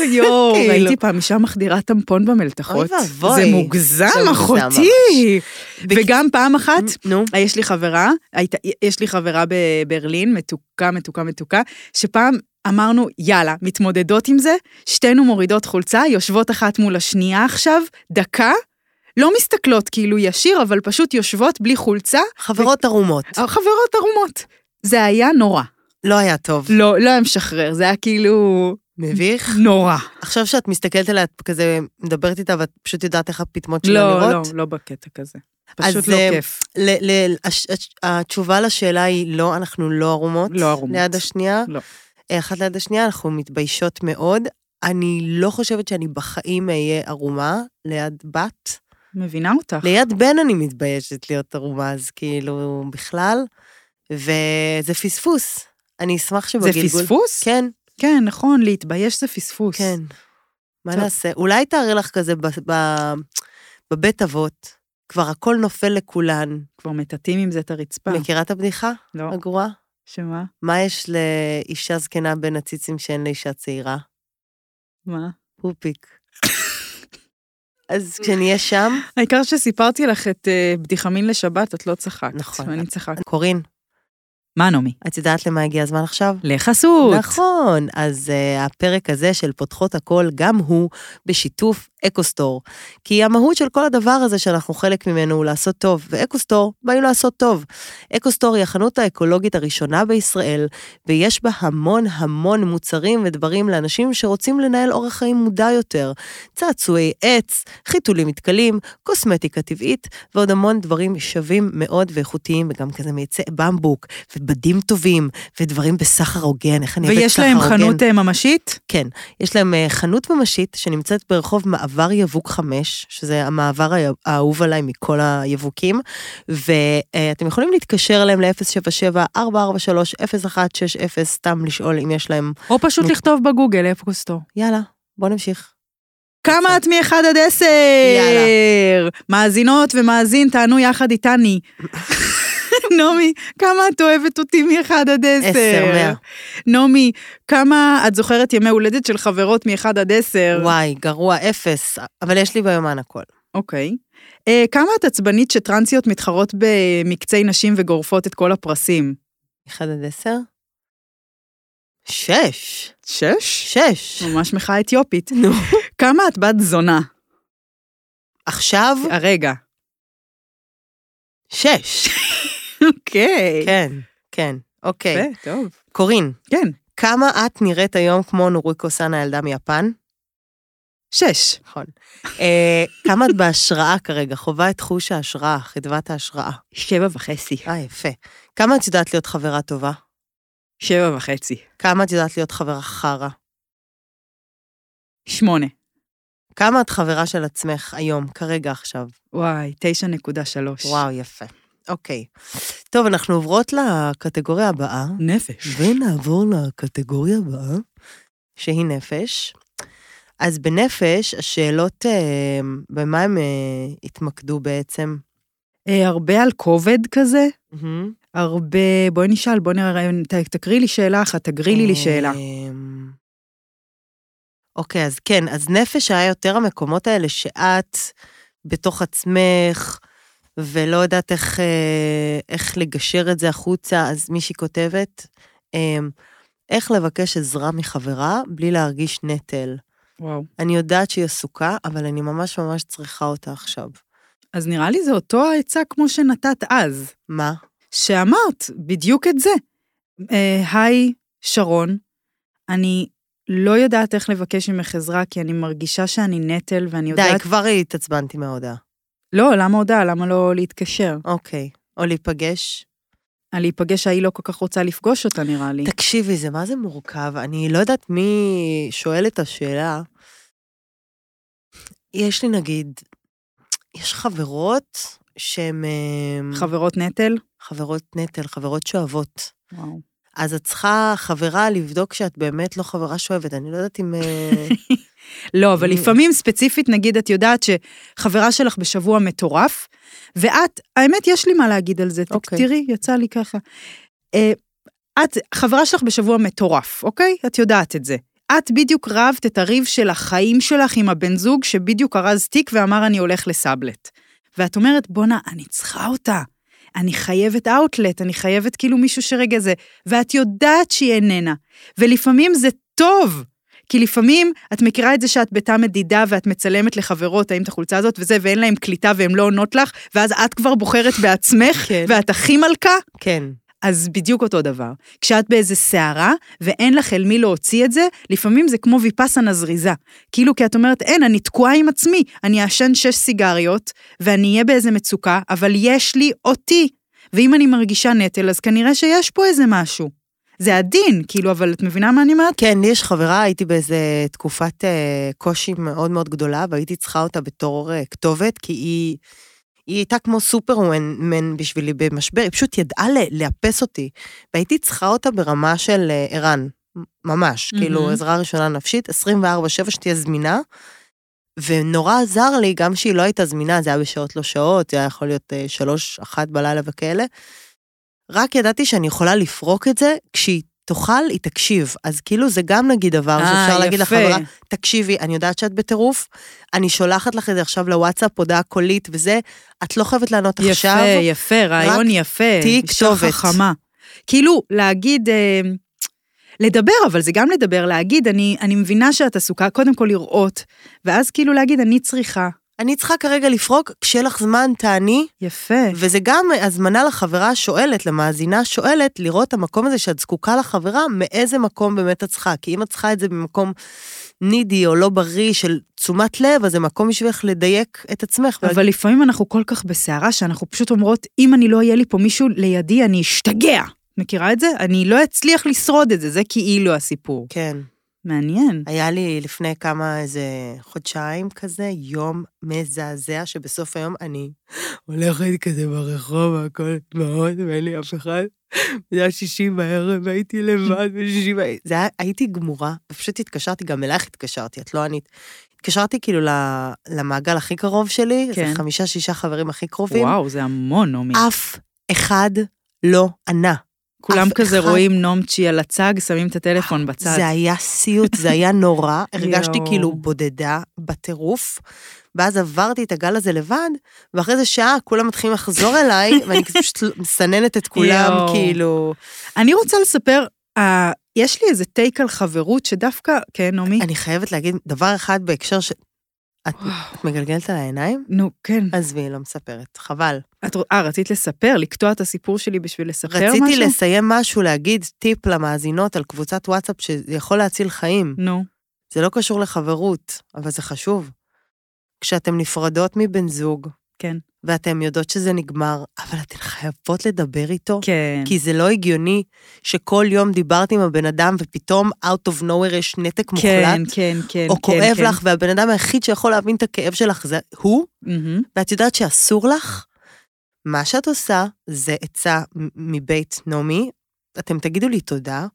[SPEAKER 3] *laughs* יואו,
[SPEAKER 4] כאילו.
[SPEAKER 3] ראיתי פעם אישה מחדירה טמפון במלתחות.
[SPEAKER 4] אוי ואבוי.
[SPEAKER 3] זה מוגזם,
[SPEAKER 4] זה מוגזם
[SPEAKER 3] אחותי. וגם פעם אחת,
[SPEAKER 4] נו.
[SPEAKER 3] אה, יש לי חברה, הייתה, יש לי חברה בברלין, מתוקה, מתוקה, מתוקה, שפעם אמרנו, יאללה, מתמודדות עם זה, שתינו מורידות חולצה, יושבות אחת מול השנייה עכשיו, דקה, לא מסתכלות כאילו ישיר, אבל פשוט יושבות בלי חולצה,
[SPEAKER 4] חברות ערומות.
[SPEAKER 3] אה, חברות ערומות. זה היה נורא.
[SPEAKER 4] לא היה טוב.
[SPEAKER 3] לא, לא היה משחרר, זה היה כאילו
[SPEAKER 4] מביך.
[SPEAKER 3] נורא.
[SPEAKER 4] עכשיו שאת מסתכלת עליה, את כזה מדברת איתה ואת פשוט יודעת איך הפטמות שלה
[SPEAKER 3] לא,
[SPEAKER 4] נראות.
[SPEAKER 3] לא, לא בקטע כזה.
[SPEAKER 4] אז,
[SPEAKER 3] פשוט לא
[SPEAKER 4] אה,
[SPEAKER 3] כיף.
[SPEAKER 4] ל- ל- הש- הש- התשובה לשאלה היא לא, אנחנו לא ערומות.
[SPEAKER 3] לא ערומות.
[SPEAKER 4] ליד השנייה.
[SPEAKER 3] לא.
[SPEAKER 4] אה, אחת ליד השנייה, אנחנו מתביישות מאוד. אני לא חושבת שאני בחיים אהיה ערומה ליד בת.
[SPEAKER 3] מבינה אותך.
[SPEAKER 4] ליד בן אני מתביישת להיות ערומה, אז כאילו, בכלל. וזה פספוס. אני אשמח
[SPEAKER 3] זה
[SPEAKER 4] שבגלגול...
[SPEAKER 3] פספוס?
[SPEAKER 4] כן,
[SPEAKER 3] כן, נכון, להתבייש זה פספוס.
[SPEAKER 4] כן. מה
[SPEAKER 3] טוב.
[SPEAKER 4] נעשה? אולי תארי לך כזה ב, ב, בבית אבות, כבר הכל נופל לכולן.
[SPEAKER 3] כבר מטאטאים עם זה את הרצפה.
[SPEAKER 4] מכירה את הבדיחה
[SPEAKER 3] אה. לא,
[SPEAKER 4] הגרועה?
[SPEAKER 3] שמה?
[SPEAKER 4] מה יש לאישה זקנה בין הציצים שאין לאישה צעירה?
[SPEAKER 3] מה? *coughs*
[SPEAKER 4] פופיק. אז כשנהיה שם,
[SPEAKER 3] העיקר שסיפרתי לך את אה, בדיחה מין לשבת, את לא צחקת.
[SPEAKER 4] נכון.
[SPEAKER 3] ואני צחקתי.
[SPEAKER 4] קורין,
[SPEAKER 3] מה, נעמי?
[SPEAKER 4] את יודעת למה הגיע הזמן עכשיו?
[SPEAKER 3] לחסות.
[SPEAKER 4] נכון, אז uh, הפרק הזה של פותחות הכל, גם הוא בשיתוף אקוסטור. כי המהות של כל הדבר הזה שאנחנו חלק ממנו הוא לעשות טוב, ואקוסטור באו לעשות טוב. אקוסטור היא החנות האקולוגית הראשונה בישראל, ויש בה המון המון מוצרים ודברים לאנשים שרוצים לנהל אורח חיים מודע יותר. צעצועי עץ, חיתולים מתכלים, קוסמטיקה טבעית, ועוד המון דברים שווים מאוד ואיכותיים, וגם כזה מעצי במבוק, ובדים טובים, ודברים בסחר הוגן, איך אני אוהבת
[SPEAKER 3] ויש
[SPEAKER 4] סחר
[SPEAKER 3] להם
[SPEAKER 4] הוגן.
[SPEAKER 3] חנות אה, ממשית?
[SPEAKER 4] כן, יש להם אה, חנות ממשית שנמצאת ברחוב מעבר יבוק 5, שזה המעבר הא- האהוב עליי מכל היבוקים, ואתם יכולים להתקשר אליהם ל-077-443-0160, סתם לשאול אם יש להם,
[SPEAKER 3] או פשוט
[SPEAKER 4] נו.
[SPEAKER 3] לכתוב בגוגל, אפקוסטור.
[SPEAKER 4] יאללה, בוא נמשיך.
[SPEAKER 3] כמה את מ-1 עד 10?
[SPEAKER 4] יאללה.
[SPEAKER 3] מאזינות ומאזין, תענו יחד איתני. נעמי, כמה את אוהבת אותי מ-1 עד 10?
[SPEAKER 4] 10, 100.
[SPEAKER 3] נעמי, כמה את זוכרת ימי הולדת של חברות מ-1 עד 10?
[SPEAKER 4] וואי, גרוע, אפס, אבל יש לי ביומן הכל.
[SPEAKER 3] אוקיי. אה, כמה את עצבנית שטרנסיות מתחרות במקצי נשים וגורפות את כל הפרסים?
[SPEAKER 4] אחד עד עשר? שש.
[SPEAKER 3] שש?
[SPEAKER 4] שש.
[SPEAKER 3] ממש מחאה אתיופית.
[SPEAKER 4] נו.
[SPEAKER 3] כמה את בת זונה?
[SPEAKER 4] עכשיו?
[SPEAKER 3] הרגע.
[SPEAKER 4] שש.
[SPEAKER 3] אוקיי.
[SPEAKER 4] כן, כן, אוקיי.
[SPEAKER 3] יפה, טוב.
[SPEAKER 4] קורין,
[SPEAKER 3] כן.
[SPEAKER 4] כמה את נראית היום כמו נוריקו סאן הילדה מיפן?
[SPEAKER 3] שש.
[SPEAKER 4] נכון. אה, כמה את בהשראה כרגע, חווה את חוש ההשראה, חדוות ההשראה.
[SPEAKER 3] שבע וחצי.
[SPEAKER 4] אה, יפה. כמה את יודעת להיות חברה טובה?
[SPEAKER 3] שבע וחצי.
[SPEAKER 4] כמה את יודעת להיות חברה חרא?
[SPEAKER 3] שמונה.
[SPEAKER 4] כמה את חברה של עצמך היום, כרגע עכשיו?
[SPEAKER 3] וואי, תשע נקודה שלוש.
[SPEAKER 4] וואו, יפה. אוקיי. טוב, אנחנו עוברות לקטגוריה הבאה.
[SPEAKER 3] נפש.
[SPEAKER 4] ונעבור לקטגוריה הבאה, שהיא נפש. אז בנפש, השאלות, אה, במה הם אה, התמקדו בעצם?
[SPEAKER 3] אה, הרבה על כובד כזה, הרבה... בואי נשאל, בואי נראה, ת- תקריא לי שאלה אחת, תגרילי לי שאלה.
[SPEAKER 4] אמ, אוקיי, אז כן, אז נפש היה יותר המקומות האלה שאת בתוך עצמך, ולא יודעת איך, אה, איך לגשר את זה החוצה, אז מישהי כותבת, אמ, איך לבקש עזרה מחברה בלי להרגיש נטל.
[SPEAKER 3] וואו.
[SPEAKER 4] אני יודעת שהיא עסוקה, אבל אני ממש ממש צריכה אותה עכשיו.
[SPEAKER 3] אז נראה לי זה אותו העצה כמו שנתת אז,
[SPEAKER 4] מה?
[SPEAKER 3] שאמרת בדיוק את זה. אה, היי, שרון, אני לא יודעת איך לבקש ממך עזרה, כי אני מרגישה שאני נטל ואני יודעת...
[SPEAKER 4] די, כבר התעצבנתי מההודעה.
[SPEAKER 3] לא, למה הודעה? למה לא להתקשר?
[SPEAKER 4] אוקיי, או להיפגש.
[SPEAKER 3] על להיפגש, ההיא לא כל כך רוצה לפגוש אותה, נראה לי.
[SPEAKER 4] תקשיבי, זה מה זה מורכב? אני לא יודעת מי שואל את השאלה. יש לי נגיד, יש חברות שהן אמ,
[SPEAKER 3] חברות נטל?
[SPEAKER 4] חברות נטל, חברות שאוהבות.
[SPEAKER 3] וואו.
[SPEAKER 4] אז את צריכה חברה לבדוק שאת באמת לא חברה שאוהבת. אני לא יודעת אם... אה,
[SPEAKER 3] לא, אבל
[SPEAKER 4] מי-
[SPEAKER 3] לפעמים ספציפית, נגיד, את יודעת שחברה שלך בשבוע מטורף, ואת, האמת, יש לי מה להגיד על זה, תק-
[SPEAKER 4] אוקיי.
[SPEAKER 3] תראי, יצא לי ככה. אה, את, חברה שלך בשבוע מטורף, אוקיי? את יודעת את זה. את בדיוק רבת את הריב של החיים שלך עם הבן זוג שבדיוק ארז תיק ואמר אני הולך לסאבלט. ואת אומרת, בואנה, אני צריכה אותה. אני חייבת אאוטלט, אני חייבת כאילו מישהו שרגע זה, ואת יודעת שהיא איננה. ולפעמים זה טוב, כי לפעמים את מכירה את זה שאת בתא מדידה ואת מצלמת לחברות, האם את החולצה הזאת וזה, ואין להם קליטה והן לא עונות לך, ואז את כבר בוחרת בעצמך,
[SPEAKER 4] כן.
[SPEAKER 3] ואת הכי מלכה,
[SPEAKER 4] כן.
[SPEAKER 3] אז בדיוק אותו דבר. כשאת באיזה סערה ואין לך אל מי להוציא את זה, לפעמים זה כמו ויפאסנה זריזה. כאילו כי את אומרת, אין, אני תקועה עם עצמי, אני אעשן שש סיגריות, ואני אהיה באיזה מצוקה, אבל יש לי אותי. ואם אני מרגישה נטל, אז כנראה שיש פה איזה משהו. זה עדין, כאילו, אבל את מבינה מה אני אומרת?
[SPEAKER 4] כן, לי יש חברה, הייתי באיזה תקופת אה, קושי מאוד מאוד גדולה, והייתי צריכה אותה בתור אה, כתובת, כי היא, היא הייתה כמו סופרמן בשבילי במשבר, היא פשוט ידעה ל- לאפס אותי. והייתי צריכה אותה ברמה של אה, ערן, מ- ממש, mm-hmm. כאילו
[SPEAKER 3] מהמם.
[SPEAKER 4] עזרה ראשונה נפשית, 24-7 שתהיה זמינה. ונורא עזר לי, גם שהיא לא הייתה זמינה, זה היה בשעות לא שעות, זה היה יכול להיות אה, שלוש, אחת בלילה וכאלה. רק ידעתי שאני יכולה לפרוק את זה, כשהיא תאכל, היא תקשיב. אז כאילו זה גם נגיד דבר
[SPEAKER 3] אה,
[SPEAKER 4] שאפשר להגיד לחברה, תקשיבי, אני יודעת שאת בטירוף, אני שולחת לך את זה עכשיו לוואטסאפ, הודעה קולית וזה, את לא חייבת לענות עכשיו.
[SPEAKER 3] יפה, יפה, רעיון יפה.
[SPEAKER 4] תהיי
[SPEAKER 3] אישה
[SPEAKER 4] כתובת.
[SPEAKER 3] חכמה. כאילו, להגיד... אה, לדבר, אבל זה גם לדבר, להגיד, אני, אני מבינה שאת עסוקה, קודם כל לראות, ואז כאילו להגיד, אני צריכה.
[SPEAKER 4] אני צריכה כרגע לפרוק, כשיהיה לך זמן, תעני.
[SPEAKER 3] יפה.
[SPEAKER 4] וזה גם הזמנה לחברה השואלת, למאזינה השואלת, לראות את המקום הזה שאת זקוקה לחברה, מאיזה מקום באמת את צריכה. כי אם את צריכה את זה במקום נידי או לא בריא של תשומת לב, אז זה מקום בשבילך לדייק את עצמך.
[SPEAKER 3] אבל לפעמים אנחנו כל כך בסערה, שאנחנו פשוט אומרות, אם אני לא אהיה לי פה מישהו לידי, אני אשתגע. מכירה את זה? אני לא אצליח לשרוד את זה, זה כאילו הסיפור.
[SPEAKER 4] כן.
[SPEAKER 3] מעניין.
[SPEAKER 4] היה לי לפני כמה, איזה חודשיים כזה, יום מזעזע, שבסוף היום אני הולכת כזה ברחוב, הכל דמעות, ואין לי אף אחד. זה היה שישי בערב, הייתי לבד בשישי בערב. זה היה, הייתי גמורה, ופשוט התקשרתי, גם אלייך התקשרתי, את לא ענית. התקשרתי כאילו ל- למעגל הכי קרוב שלי,
[SPEAKER 3] כן.
[SPEAKER 4] זה חמישה, שישה חברים הכי קרובים.
[SPEAKER 3] וואו, זה המון, נעמי.
[SPEAKER 4] אף אחד לא ענה.
[SPEAKER 3] כולם
[SPEAKER 4] אף
[SPEAKER 3] כזה
[SPEAKER 4] אחד.
[SPEAKER 3] רואים נומצ'י על הצג, שמים את הטלפון בצד.
[SPEAKER 4] זה היה סיוט, זה היה
[SPEAKER 3] *laughs*
[SPEAKER 4] נורא. הרגשתי
[SPEAKER 3] יואו.
[SPEAKER 4] כאילו בודדה בטירוף, ואז עברתי את הגל הזה לבד, ואחרי איזה שעה כולם
[SPEAKER 3] *laughs*
[SPEAKER 4] מתחילים לחזור אליי, ואני כזה פשוט מסננת את כולם,
[SPEAKER 3] יואו.
[SPEAKER 4] כאילו...
[SPEAKER 3] אני רוצה לספר, אה, יש לי איזה טייק על חברות שדווקא, כן, נעמי?
[SPEAKER 4] אני חייבת להגיד דבר אחד בהקשר ש... את
[SPEAKER 3] וואו.
[SPEAKER 4] את מגלגלת על העיניים?
[SPEAKER 3] נו, כן.
[SPEAKER 4] עזבי, לא מספרת, חבל.
[SPEAKER 3] את רוצ- אה, רצית לספר? לקטוע את הסיפור שלי בשביל לספר משהו?
[SPEAKER 4] רציתי לסיים משהו, להגיד טיפ למאזינות על קבוצת וואטסאפ שזה יכול להציל חיים.
[SPEAKER 3] נו,
[SPEAKER 4] זה לא קשור לחברות, אבל זה חשוב. כשאתם נפרדות מבן זוג,
[SPEAKER 3] כן.
[SPEAKER 4] ואתן יודעות שזה נגמר, אבל אתן חייבות לדבר איתו,
[SPEAKER 3] כן.
[SPEAKER 4] כי זה לא הגיוני שכל יום דיברת עם הבן אדם ופתאום out of nowhere יש נתק
[SPEAKER 3] כן,
[SPEAKER 4] מוחלט,
[SPEAKER 3] כן, כן.
[SPEAKER 4] או
[SPEAKER 3] כן,
[SPEAKER 4] כואב
[SPEAKER 3] כן.
[SPEAKER 4] לך, והבן אדם היחיד שיכול להבין את הכאב שלך זה הוא,
[SPEAKER 3] מהמם.
[SPEAKER 4] ואת יודעת שאסור לך. מה שאת עושה זה עצה מ- מבית נעמי, אתם תגידו לי תודה,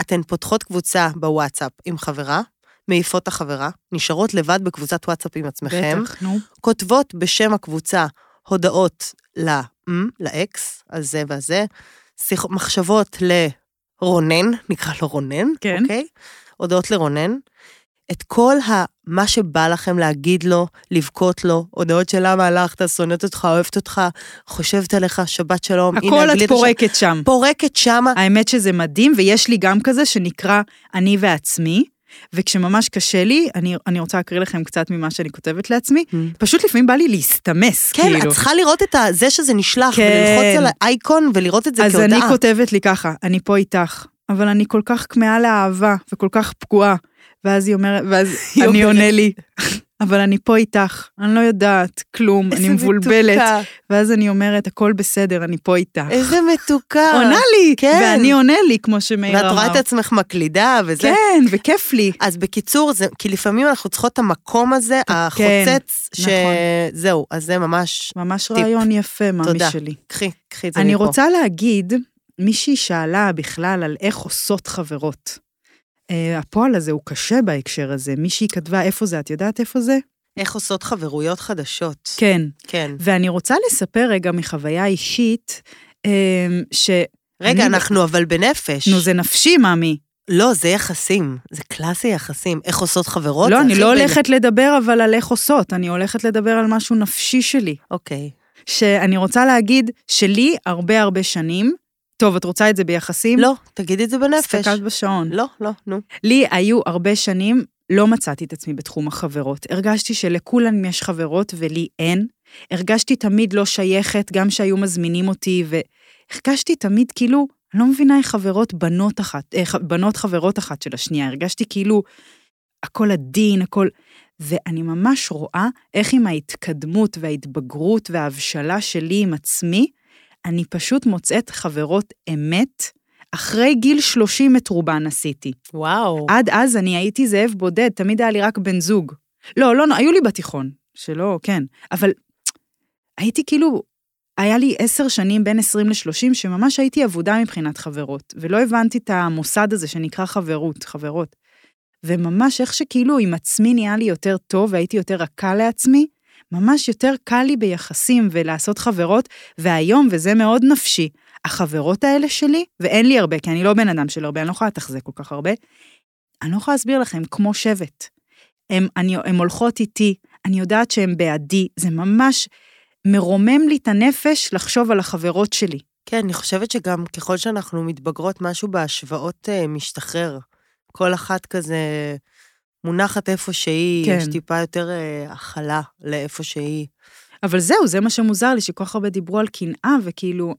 [SPEAKER 4] אתן פותחות קבוצה בוואטסאפ עם חברה, מעיפות את החברה, נשארות לבד בקבוצת וואטסאפ עם עצמכם,
[SPEAKER 3] בטח, נו.
[SPEAKER 4] כותבות בשם הקבוצה הודעות ל... מ, לאקס, הזה והזה, שיח... מחשבות לרונן, נקרא לו רונן,
[SPEAKER 3] כן.
[SPEAKER 4] אוקיי? הודעות לרונן. את כל ה... מה שבא לכם להגיד לו, לבכות לו, הודעות של למה הלכת, שונאת אותך, אוהבת אותך, חושבת עליך, שבת שלום. הנה,
[SPEAKER 3] הכל את
[SPEAKER 4] הגלידה ש-
[SPEAKER 3] פורקת שם.
[SPEAKER 4] פורקת שמה.
[SPEAKER 3] האמת שזה מדהים, ויש לי גם כזה שנקרא אני ועצמי, וכשממש קשה לי, אני, אני רוצה להקריא לכם קצת ממה שאני כותבת לעצמי, פשוט לפעמים בא לי להסתמס,
[SPEAKER 4] Mm. כן,
[SPEAKER 3] כאילו.
[SPEAKER 4] את צריכה לראות את ה- זה שזה נשלח,
[SPEAKER 3] כן.
[SPEAKER 4] וללחוץ על האייקון ולראות את זה
[SPEAKER 3] אז
[SPEAKER 4] כהודעה.
[SPEAKER 3] אני כותבת לי ככה, אני פה איתך, אבל אני כל כך כמהה לאהבה וכל כך פגועה. ואז היא אומרת, ואז
[SPEAKER 4] *laughs* היא
[SPEAKER 3] אני
[SPEAKER 4] אומרת.
[SPEAKER 3] עונה לי, אבל אני פה איתך, אני לא יודעת כלום, אני
[SPEAKER 4] איזה
[SPEAKER 3] מבולבלת.
[SPEAKER 4] מתוקה,
[SPEAKER 3] ואז אני אומרת, הכל בסדר, אני פה איתך.
[SPEAKER 4] איזה מתוקה.
[SPEAKER 3] עונה לי,
[SPEAKER 4] כן.
[SPEAKER 3] ואני עונה לי, כמו שמאיר אמר.
[SPEAKER 4] ואת רואה את עצמך מקלידה וזה.
[SPEAKER 3] כן, וכיף לי.
[SPEAKER 4] אז בקיצור, זה, כי לפעמים אנחנו צריכות את המקום הזה, החוצץ,
[SPEAKER 3] כן, נכון.
[SPEAKER 4] שזהו, אז זה ממש,
[SPEAKER 3] ממש
[SPEAKER 4] טיפ.
[SPEAKER 3] רעיון יפה, מאמי
[SPEAKER 4] תודה.
[SPEAKER 3] שלי.
[SPEAKER 4] קחי, קחי את זה מפה.
[SPEAKER 3] אני רוצה להגיד, מישהי שאלה בכלל על איך עושות חברות. אה, הפועל הזה הוא קשה בהקשר הזה. מישהי כתבה, איפה זה? את יודעת איפה זה?
[SPEAKER 4] איך עושות חברויות חדשות.
[SPEAKER 3] כן.
[SPEAKER 4] כן.
[SPEAKER 3] ואני רוצה לספר רגע מחוויה אישית, אמ, ש...
[SPEAKER 4] רגע,
[SPEAKER 3] אני-
[SPEAKER 4] אנחנו אבל בנפש.
[SPEAKER 3] נו, זה נפשי, מאמי.
[SPEAKER 4] לא, זה יחסים. זה קלאסי יחסים. איך עושות חברות?
[SPEAKER 3] לא,
[SPEAKER 4] זה
[SPEAKER 3] אני
[SPEAKER 4] הכי
[SPEAKER 3] לא
[SPEAKER 4] בין-
[SPEAKER 3] הולכת לדבר אבל על איך עושות, אני הולכת לדבר על משהו נפשי שלי.
[SPEAKER 4] אוקיי.
[SPEAKER 3] שאני רוצה להגיד שלי הרבה הרבה שנים, טוב, את רוצה את זה ביחסים?
[SPEAKER 4] לא, תגידי את זה בנפש.
[SPEAKER 3] הסתכלת בשעון.
[SPEAKER 4] לא, לא, נו.
[SPEAKER 3] לי היו הרבה שנים, לא מצאתי את עצמי בתחום החברות. הרגשתי שלכולן יש חברות ולי אין. הרגשתי תמיד לא שייכת, גם שהיו מזמינים אותי, והרגשתי תמיד כאילו, אני לא מבינה איך חברות בנות אחת, אה, ח- בנות חברות אחת של השנייה. הרגשתי כאילו, הכל עדין, הכל... ואני ממש רואה איך עם ההתקדמות וההתבגרות וההבשלה שלי עם עצמי, אני פשוט מוצאת חברות אמת. אחרי גיל 30 את רובן עשיתי.
[SPEAKER 4] וואו.
[SPEAKER 3] עד אז אני הייתי זאב בודד, תמיד היה לי רק בן זוג. לא, לא, היו לי בתיכון, שלא, כן. אבל הייתי כאילו, היה לי עשר שנים בין 20 ל-30, שממש הייתי אבודה מבחינת חברות, ולא הבנתי את המוסד הזה שנקרא חברות, חברות. וממש איך שכאילו עם עצמי נהיה לי יותר טוב והייתי יותר רכה לעצמי, ממש יותר קל לי ביחסים ולעשות חברות, והיום, וזה מאוד נפשי, החברות האלה שלי, ואין לי הרבה, כי אני לא בן אדם של הרבה, אני לא יכולה לתחזק כל כך הרבה, אני לא יכולה להסביר לכם, כמו שבט. הם, אני, הם הולכות איתי, אני יודעת שהן בעדי, זה ממש מרומם לי את הנפש לחשוב על החברות שלי.
[SPEAKER 4] כן, אני חושבת שגם ככל שאנחנו מתבגרות, משהו בהשוואות אה, משתחרר. כל אחת כזה מונחת איפה שהיא,
[SPEAKER 3] כן.
[SPEAKER 4] יש טיפה יותר אה, הכלה לאיפה שהיא.
[SPEAKER 3] אבל זהו, זה מה שמוזר לי, שכל כך הרבה דיברו על קנאה, וכאילו...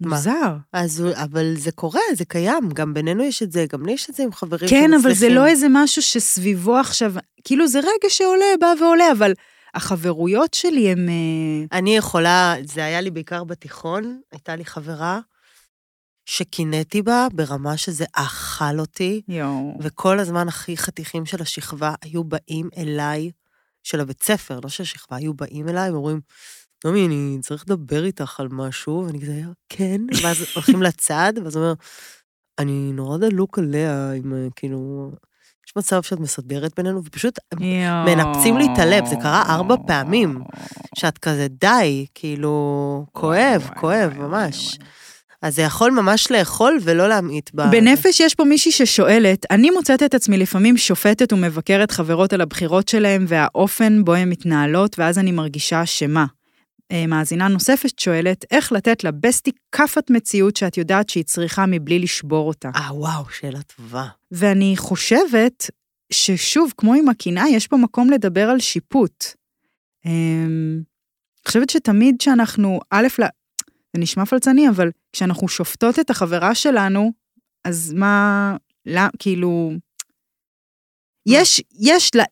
[SPEAKER 4] מה?
[SPEAKER 3] מוזר.
[SPEAKER 4] אז, הוא- אבל זה קורה, זה קיים, גם בינינו יש את זה, גם לי יש את זה עם חברים
[SPEAKER 3] כן, אבל זה
[SPEAKER 4] שמצליחים.
[SPEAKER 3] לא איזה משהו שסביבו עכשיו... כאילו, זה רגע שעולה, בא ועולה, אבל החברויות שלי הן... אה,
[SPEAKER 4] אני יכולה, זה היה לי בעיקר בתיכון, הייתה לי חברה שקינאתי בה ברמה שזה אכל אותי,
[SPEAKER 3] יואו.
[SPEAKER 4] וכל הזמן הכי חתיכים של השכבה היו באים אליי, של הבית ספר, לא של השכבה, היו באים אליי ואומרים, נעמי, אני צריך לדבר איתך על משהו, ואני כזה, כן,
[SPEAKER 3] *laughs*
[SPEAKER 4] ואז הולכים לצד, ואז הוא אומר, אני נורא דלוק עליה, עם אה, כאילו... יש מצב שאת מסדרת בינינו, ופשוט אמ,
[SPEAKER 3] יואו.
[SPEAKER 4] מנפצים לי את הלב, זה קרה ארבע פעמים. שאת כזה, די, כאילו, כואב,
[SPEAKER 3] כן. וואי,
[SPEAKER 4] כואב,
[SPEAKER 3] וואי,
[SPEAKER 4] ממש.
[SPEAKER 3] וואי,
[SPEAKER 4] אז זה יכול ממש לאכול ולא להמעיט ב...
[SPEAKER 3] בנפש יש פה מישהי ששואלת, אני מוצאת את עצמי לפעמים שופטת ומבקרת חברות על הבחירות שלהם והאופן בו הן מתנהלות, ואז אני מרגישה אשמה. אה, מאזינה נוספת שואלת, איך לתת לבסטי כאפת מציאות שאת יודעת שהיא צריכה מבלי לשבור אותה?
[SPEAKER 4] אה, וואו, שאלה טובה.
[SPEAKER 3] ואני חושבת ששוב, כמו עם הקנאה, יש פה מקום לדבר על שיפוט. אמ, אני חושבת שתמיד כשאנחנו, א', לה- זה נשמע פלצני, אבל כשאנחנו שופטות את החברה שלנו, אז מה, לא, כאילו, יש, יש, לה-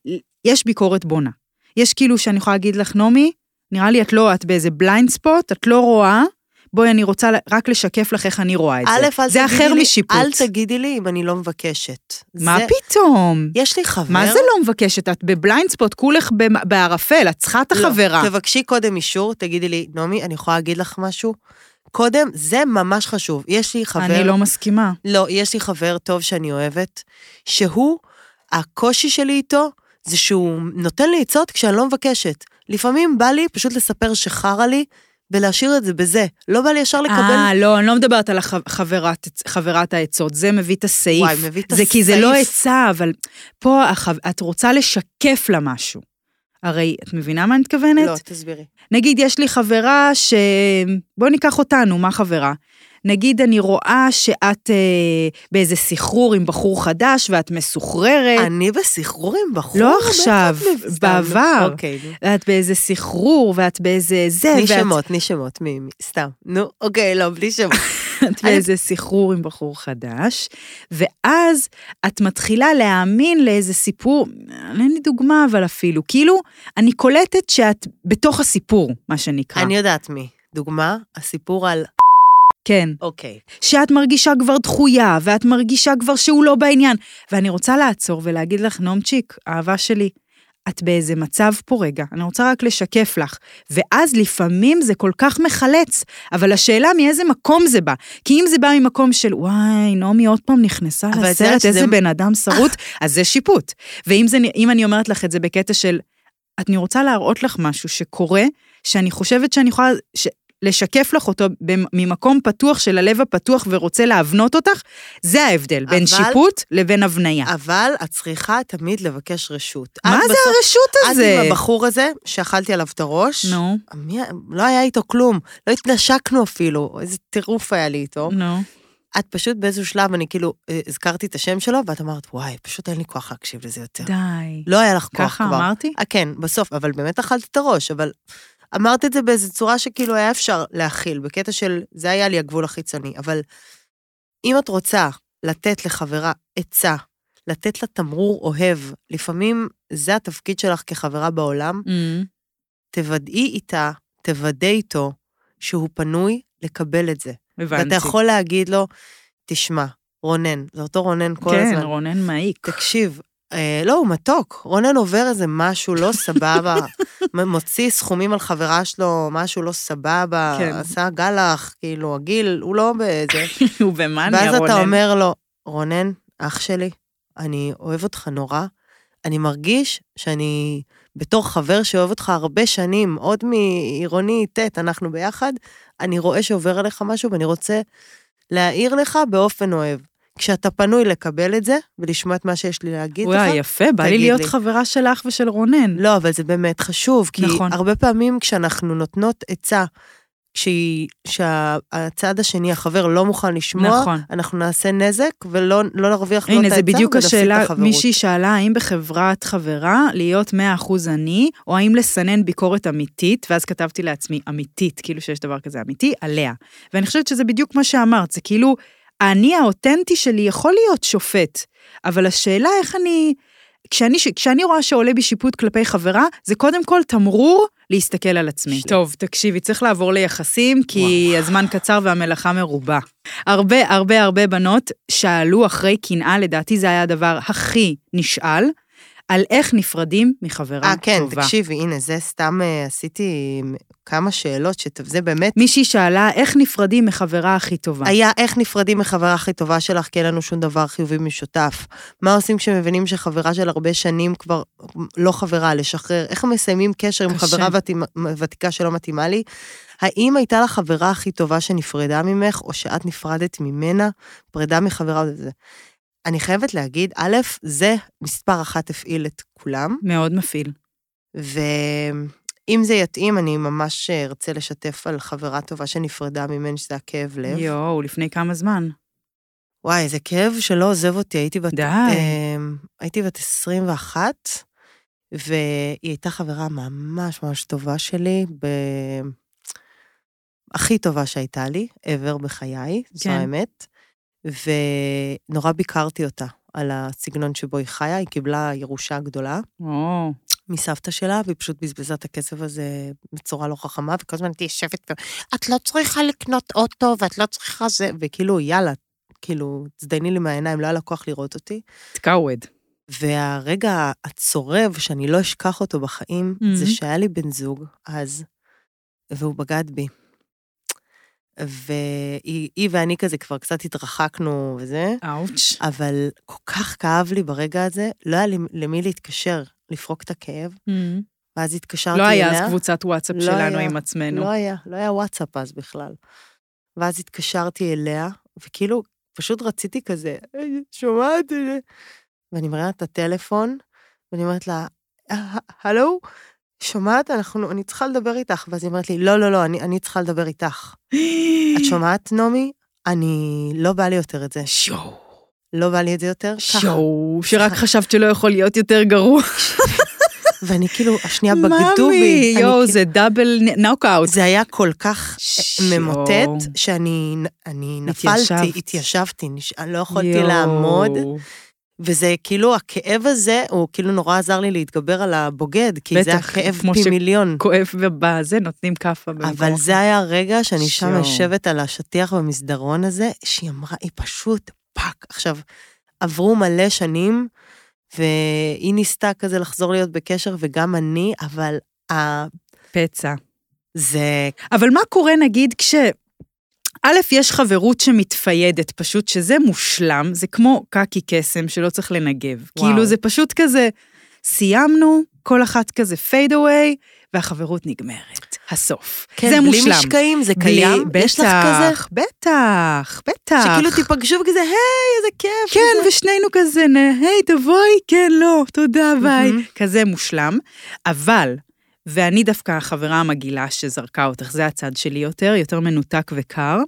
[SPEAKER 3] יש ביקורת בונה. יש כאילו שאני יכולה להגיד לך, נעמי, נראה לי את לא, את באיזה בליינד ספוט, את לא רואה, בואי, אני רוצה רק לשקף לך איך אני רואה את
[SPEAKER 4] א',
[SPEAKER 3] זה.
[SPEAKER 4] אל תגידי לי...
[SPEAKER 3] זה אחר משיפוט.
[SPEAKER 4] אל תגידי לי אם אני לא מבקשת.
[SPEAKER 3] מה
[SPEAKER 4] זה-
[SPEAKER 3] פתאום?
[SPEAKER 4] יש לי חבר...
[SPEAKER 3] מה זה לא מבקשת? את בבליינד ספוט, כולך במ- בערפל, את צריכה את
[SPEAKER 4] לא,
[SPEAKER 3] החברה.
[SPEAKER 4] תבקשי קודם אישור, תגידי לי, נעמי, אני יכולה להגיד לך משהו? קודם, זה ממש חשוב. יש לי חבר...
[SPEAKER 3] אני לא מסכימה.
[SPEAKER 4] לא, יש לי חבר טוב שאני אוהבת, שהוא, הקושי שלי איתו זה שהוא נותן לי עצות כשאני לא מבקשת. לפעמים בא לי פשוט לספר שחרא לי ולהשאיר את זה בזה. לא בא לי ישר לקבל...
[SPEAKER 3] אה, לא, אני לא מדברת על הח- חברת- חברת העצות, זה מביא את הסעיף.
[SPEAKER 4] וואי, מביא את
[SPEAKER 3] זה כי זה לא
[SPEAKER 4] הסעיף.
[SPEAKER 3] עצה, אבל פה החו- את רוצה לשקף לה משהו. הרי, את מבינה מה אני מתכוונת?
[SPEAKER 4] לא, תסבירי.
[SPEAKER 3] נגיד, יש לי חברה ש... בואו ניקח אותנו, מה חברה? נגיד, אני רואה שאת אה, באיזה סחרור עם בחור חדש ואת מסוחררת.
[SPEAKER 4] אני בסחרורים, בחור?
[SPEAKER 3] אה, לא
[SPEAKER 4] מאיפה את
[SPEAKER 3] עכשיו,
[SPEAKER 4] מב- סתם,
[SPEAKER 3] בעבר.
[SPEAKER 4] אוקיי, נו.
[SPEAKER 3] ואת באיזה סחרור, ואת באיזה זה,
[SPEAKER 4] תני
[SPEAKER 3] אה, ואת
[SPEAKER 4] שמות, תני שמות, מי, מי- סתם. נו, אוקיי, לא, בלי שמות.
[SPEAKER 3] *laughs* את באיזה סחרור עם בחור חדש, ואז את מתחילה להאמין לאיזה סיפור, אין לי דוגמה אבל אפילו, כאילו, אני קולטת שאת בתוך הסיפור, מה שנקרא.
[SPEAKER 4] אני יודעת מי. דוגמה, הסיפור על...
[SPEAKER 3] כן.
[SPEAKER 4] אוקיי.
[SPEAKER 3] שאת מרגישה כבר דחויה, ואת מרגישה כבר שהוא לא בעניין. ואני רוצה לעצור ולהגיד לך, נעמצ'יק, אהבה שלי, את באיזה מצב פה רגע, אני רוצה רק לשקף לך. ואז לפעמים זה כל כך מחלץ, אבל השאלה מאיזה מקום זה בא. כי אם זה בא ממקום של, וואי, נעמי עוד פעם נכנסה
[SPEAKER 4] אבל את יודעת
[SPEAKER 3] לסרט,
[SPEAKER 4] שזה-
[SPEAKER 3] איזה בן אדם
[SPEAKER 4] *laughs*
[SPEAKER 3] שרוט, אז זה שיפוט. ואם זה, אם אני אומרת לך את זה בקטע של, את- אני רוצה להראות לך משהו שקורה, שאני חושבת שאני יכולה, ש, לשקף לך אותו במ- ממקום פתוח של הלב הפתוח ורוצה להבנות אותך, זה ההבדל בין
[SPEAKER 4] אבל-
[SPEAKER 3] שיפוט לבין הבניה.
[SPEAKER 4] אבל את צריכה תמיד לבקש רשות.
[SPEAKER 3] מה
[SPEAKER 4] את
[SPEAKER 3] זה
[SPEAKER 4] בסוף-
[SPEAKER 3] הרשות
[SPEAKER 4] את
[SPEAKER 3] הזה?
[SPEAKER 4] עם הבחור הזה, שאכלתי עליו את הראש.
[SPEAKER 3] נו,
[SPEAKER 4] מי, לא היה איתו כלום, לא התנשקנו אפילו, איזה טירוף היה לי איתו.
[SPEAKER 3] נו.
[SPEAKER 4] את פשוט באיזשהו שלב, אני כאילו אה, הזכרתי את השם שלו, ואת אמרת, וואי, פשוט אין לי כוח להקשיב לזה יותר.
[SPEAKER 3] די.
[SPEAKER 4] לא היה לך כוח כבר.
[SPEAKER 3] ככה אמרתי?
[SPEAKER 4] אה, כן, בסוף, אבל באמת אכלת את הראש, אבל אמרת את זה באיזו צורה שכאילו היה אפשר להכיל, בקטע של, זה היה לי הגבול החיצוני, אבל אם את רוצה לתת לחברה עצה, לתת לה תמרור אוהב, לפעמים זה התפקיד שלך כחברה בעולם,
[SPEAKER 3] אמ,
[SPEAKER 4] תוודאי איתה, תוודא איתו שהוא פנוי לקבל את זה.
[SPEAKER 3] הבנתי.
[SPEAKER 4] ואתה יכול להגיד לו, תשמע, רונן, זה אותו רונן כל הזמן.
[SPEAKER 3] כן, רונן
[SPEAKER 4] *laughs*
[SPEAKER 3] מעיק.
[SPEAKER 4] תקשיב, אה, לא, הוא מתוק. רונן עובר איזה משהו לא סבבה, מ- מוציא סכומים על חברה שלו, משהו לא סבבה,
[SPEAKER 3] כן.
[SPEAKER 4] עשה גלח, כאילו, עגיל, הוא לא באיזה...
[SPEAKER 3] הוא במאניה,
[SPEAKER 4] ואז
[SPEAKER 3] רונן.
[SPEAKER 4] אתה אומר לו, רונן, אח שלי, אני אוהב אותך נורא, אני מרגיש שאני, בתור חבר שאוהב אותך הרבה שנים, עוד מעירוני ט', אנחנו ביחד, אני רואה שעובר עליך משהו ואני רוצה להעיר לך באופן אוהב. כשאתה פנוי לקבל את זה ולשמוע את מה שיש לי להגיד לך,
[SPEAKER 3] וואי, יפה, בא לי
[SPEAKER 4] תגיד
[SPEAKER 3] להיות
[SPEAKER 4] לי.
[SPEAKER 3] חברה שלך ושל רונן.
[SPEAKER 4] לא, אבל זה באמת חשוב, כי
[SPEAKER 3] נכון.
[SPEAKER 4] נכון. הרבה פעמים כשאנחנו נותנות עצה, כשהיא- שהצד השני, החבר, לא מוכן לשמוע,
[SPEAKER 3] נכון.
[SPEAKER 4] אנחנו נעשה נזק ולא לא נרוויח לא את
[SPEAKER 3] הנה, זה
[SPEAKER 4] העצה
[SPEAKER 3] בדיוק
[SPEAKER 4] ונפסיק את
[SPEAKER 3] השאלה,
[SPEAKER 4] החברות.
[SPEAKER 3] מישהי שאלה האם בחברת חברה להיות 100% אני, או האם לסנן ביקורת אמיתית, ואז כתבתי לעצמי, אמיתית, כאילו שיש דבר כזה אמיתי, עליה. ואני חושבת שזה בדיוק מה שאמרת, זה כאילו, האני האותנטי שלי יכול להיות שופט, אבל השאלה איך אני... כשאני, ש- כשאני רואה שעולה בי שיפוט כלפי חברה, זה קודם כל תמרור להסתכל על עצמי.
[SPEAKER 4] שנייה.
[SPEAKER 3] טוב, תקשיבי, צריך לעבור ליחסים, כי הזמן קצר והמלאכה מרובה. הרבה הרבה הרבה בנות שאלו אחרי קנאה, לדעתי זה היה הדבר הכי נשאל, על איך נפרדים מחברה
[SPEAKER 4] אה, כן,
[SPEAKER 3] טובה.
[SPEAKER 4] תקשיבי, הנה, זה סתם אה, עשיתי עם כמה שאלות, שזה באמת...
[SPEAKER 3] מישהי שאלה איך נפרדים מחברה הכי טובה.
[SPEAKER 4] היה איך נפרדים מחברה הכי טובה שלך, כי אין לנו שום דבר חיובי משותף. מה עושים כשמבינים שחברה של הרבה שנים כבר לא חברה, לשחרר? איך מסיימים קשר עם
[SPEAKER 3] קשה.
[SPEAKER 4] חברה ותימה- ותיקה שלא מתאימה לי? האם הייתה לך חברה הכי טובה שנפרדה ממך, או שאת נפרדת ממנה? פרידה מחברה וזה. אני חייבת להגיד, א', זה מספר אחת הפעיל את כולם.
[SPEAKER 3] מאוד מפעיל.
[SPEAKER 4] ואם זה יתאים, אני ממש אה, ארצה לשתף על חברה טובה שנפרדה ממני, שזה הכאב לב. יו.
[SPEAKER 3] יואו, לפני כמה זמן.
[SPEAKER 4] וואי, איזה כאב שלא עוזב אותי, הייתי בת...
[SPEAKER 3] די.
[SPEAKER 4] אמ, הייתי בת 21, והיא הייתה חברה ממש ממש טובה שלי, ב... הכי טובה שהייתה לי, ever בחיי, זו
[SPEAKER 3] כן.
[SPEAKER 4] האמת. ונורא ביקרתי אותה על הסגנון שבו היא חיה, היא קיבלה ירושה גדולה.
[SPEAKER 3] או,
[SPEAKER 4] מסבתא שלה, והיא פשוט בזבזה את הכסף הזה בצורה לא חכמה, וכל הזמן הייתי יושבת, את לא צריכה לקנות אוטו, ואת לא צריכה זה, וכאילו, יאללה, כאילו, תזדייני לי מהעיניים, לא היה לה כוח לראות אותי.
[SPEAKER 3] תקעווד.
[SPEAKER 4] והרגע הצורב, שאני לא אשכח אותו בחיים,
[SPEAKER 3] Mhm.
[SPEAKER 4] זה שהיה לי בן זוג אז, והוא בגד בי. והיא היא ואני כזה כבר קצת התרחקנו וזה,
[SPEAKER 3] אאוץ'.
[SPEAKER 4] אבל כל כך כאב לי ברגע הזה, לא היה לי למי להתקשר, לפרוק את הכאב. ואז התקשרתי
[SPEAKER 3] Mm. לא היה
[SPEAKER 4] אליה.
[SPEAKER 3] אז קבוצת וואטסאפ
[SPEAKER 4] לא
[SPEAKER 3] שלנו
[SPEAKER 4] היה,
[SPEAKER 3] עם עצמנו.
[SPEAKER 4] לא היה, לא היה וואטסאפ אז בכלל. ואז התקשרתי אליה, וכאילו, פשוט רציתי כזה, "היי, שומעת את זה? ואני מרימה את הטלפון, ואני אומרת לה, "אה, הלו? שומעת? אנחנו, אני צריכה לדבר איתך. ואז היא אומרת לי, לא, לא, לא, אני, אני צריכה לדבר איתך. את שומעת, נעמי? אני, לא בא לי יותר את זה.
[SPEAKER 3] שואו.
[SPEAKER 4] לא בא לי את זה יותר. ככה.
[SPEAKER 3] שואו, שרק חשבת שלא יכול להיות יותר
[SPEAKER 4] *laughs*
[SPEAKER 3] גרוע.
[SPEAKER 4] ואני כאילו, השנייה בגדו בי. אני
[SPEAKER 3] יואו,
[SPEAKER 4] כאילו-
[SPEAKER 3] זה דאבל נוקאוט.
[SPEAKER 4] זה היה כל כך
[SPEAKER 3] שיו.
[SPEAKER 4] אה, ממוטט, שאני אני נפלתי,
[SPEAKER 3] התיישבת.
[SPEAKER 4] התיישבתי, נש- אני לא יכולתי לעמוד,
[SPEAKER 3] יואו.
[SPEAKER 4] וזה כאילו, הכאב הזה, הוא כאילו נורא עזר לי להתגבר על הבוגד, כי זה
[SPEAKER 3] בטח,
[SPEAKER 4] הכאב
[SPEAKER 3] כמו
[SPEAKER 4] פי
[SPEAKER 3] ש-
[SPEAKER 4] מיליון.
[SPEAKER 3] כואב ובזה, נותנים כאפה במקום.
[SPEAKER 4] אבל זה היה הרגע שאני שם
[SPEAKER 3] שיו.
[SPEAKER 4] יושבת על השטיח במסדרון הזה, שהיא אמרה, היא פשוט פאק. עכשיו, עברו מלא שנים, והיא ניסתה כזה לחזור להיות בקשר, וגם אני, אבל ה-
[SPEAKER 3] פצע.
[SPEAKER 4] זה
[SPEAKER 3] אבל מה קורה נגיד כש... א', יש חברות שמתפיידת, פשוט שזה מושלם, זה כמו קקי קסם שלא צריך לנגב. וואו.
[SPEAKER 4] וואו.
[SPEAKER 3] כאילו זה פשוט כזה, סיימנו, כל אחת כזה פייד אווי, והחברות נגמרת. הסוף.
[SPEAKER 4] כן,
[SPEAKER 3] זה
[SPEAKER 4] בלי
[SPEAKER 3] מושלם.
[SPEAKER 4] משקעים, זה קיים?
[SPEAKER 3] בלי,
[SPEAKER 4] יש לך כזה?
[SPEAKER 3] בטח, בטח, בטח.
[SPEAKER 4] שכאילו תיפגשו וכזה, היי, איזה כיף.
[SPEAKER 3] כן, ושנינו כזה, נה, היי, תבואי, כן, לא, תודה, ביי.
[SPEAKER 4] מהמם.
[SPEAKER 3] כזה מושלם. אבל, ואני דווקא החברה המגעילה שזרקה אותך, זה הצד שלי יותר, יותר מנותק וקר.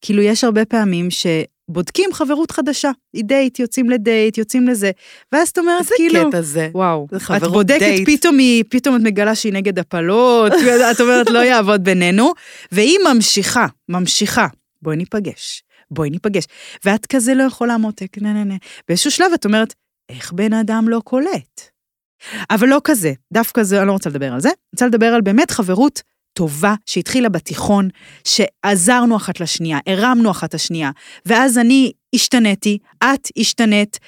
[SPEAKER 3] כאילו, יש הרבה פעמים שבודקים חברות חדשה. היא דייט, יוצאים לדייט, יוצאים לזה. ואז את אומרת, כאילו...
[SPEAKER 4] איזה קטע זה.
[SPEAKER 3] וואו,
[SPEAKER 4] זה
[SPEAKER 3] את
[SPEAKER 4] חברות
[SPEAKER 3] בודקת,
[SPEAKER 4] דייט.
[SPEAKER 3] פתאום היא, פתאום את מגלה שהיא נגד הפלות, את אומרת לא יעבוד בינינו, והיא ממשיכה, ממשיכה, בואי ניפגש, בואי ניפגש. ואת כזה לא יכולה מותק, נה נה נה. באיזשהו שלב את אומרת, איך בן אדם לא קולט? אבל לא כזה, דווקא זה, אני לא רוצה לדבר על זה, אני רוצה לדבר על באמת חברות טובה שהתחילה בתיכון, שעזרנו אחת לשנייה, הרמנו אחת את השנייה, ואז אני השתניתי, את השתנית,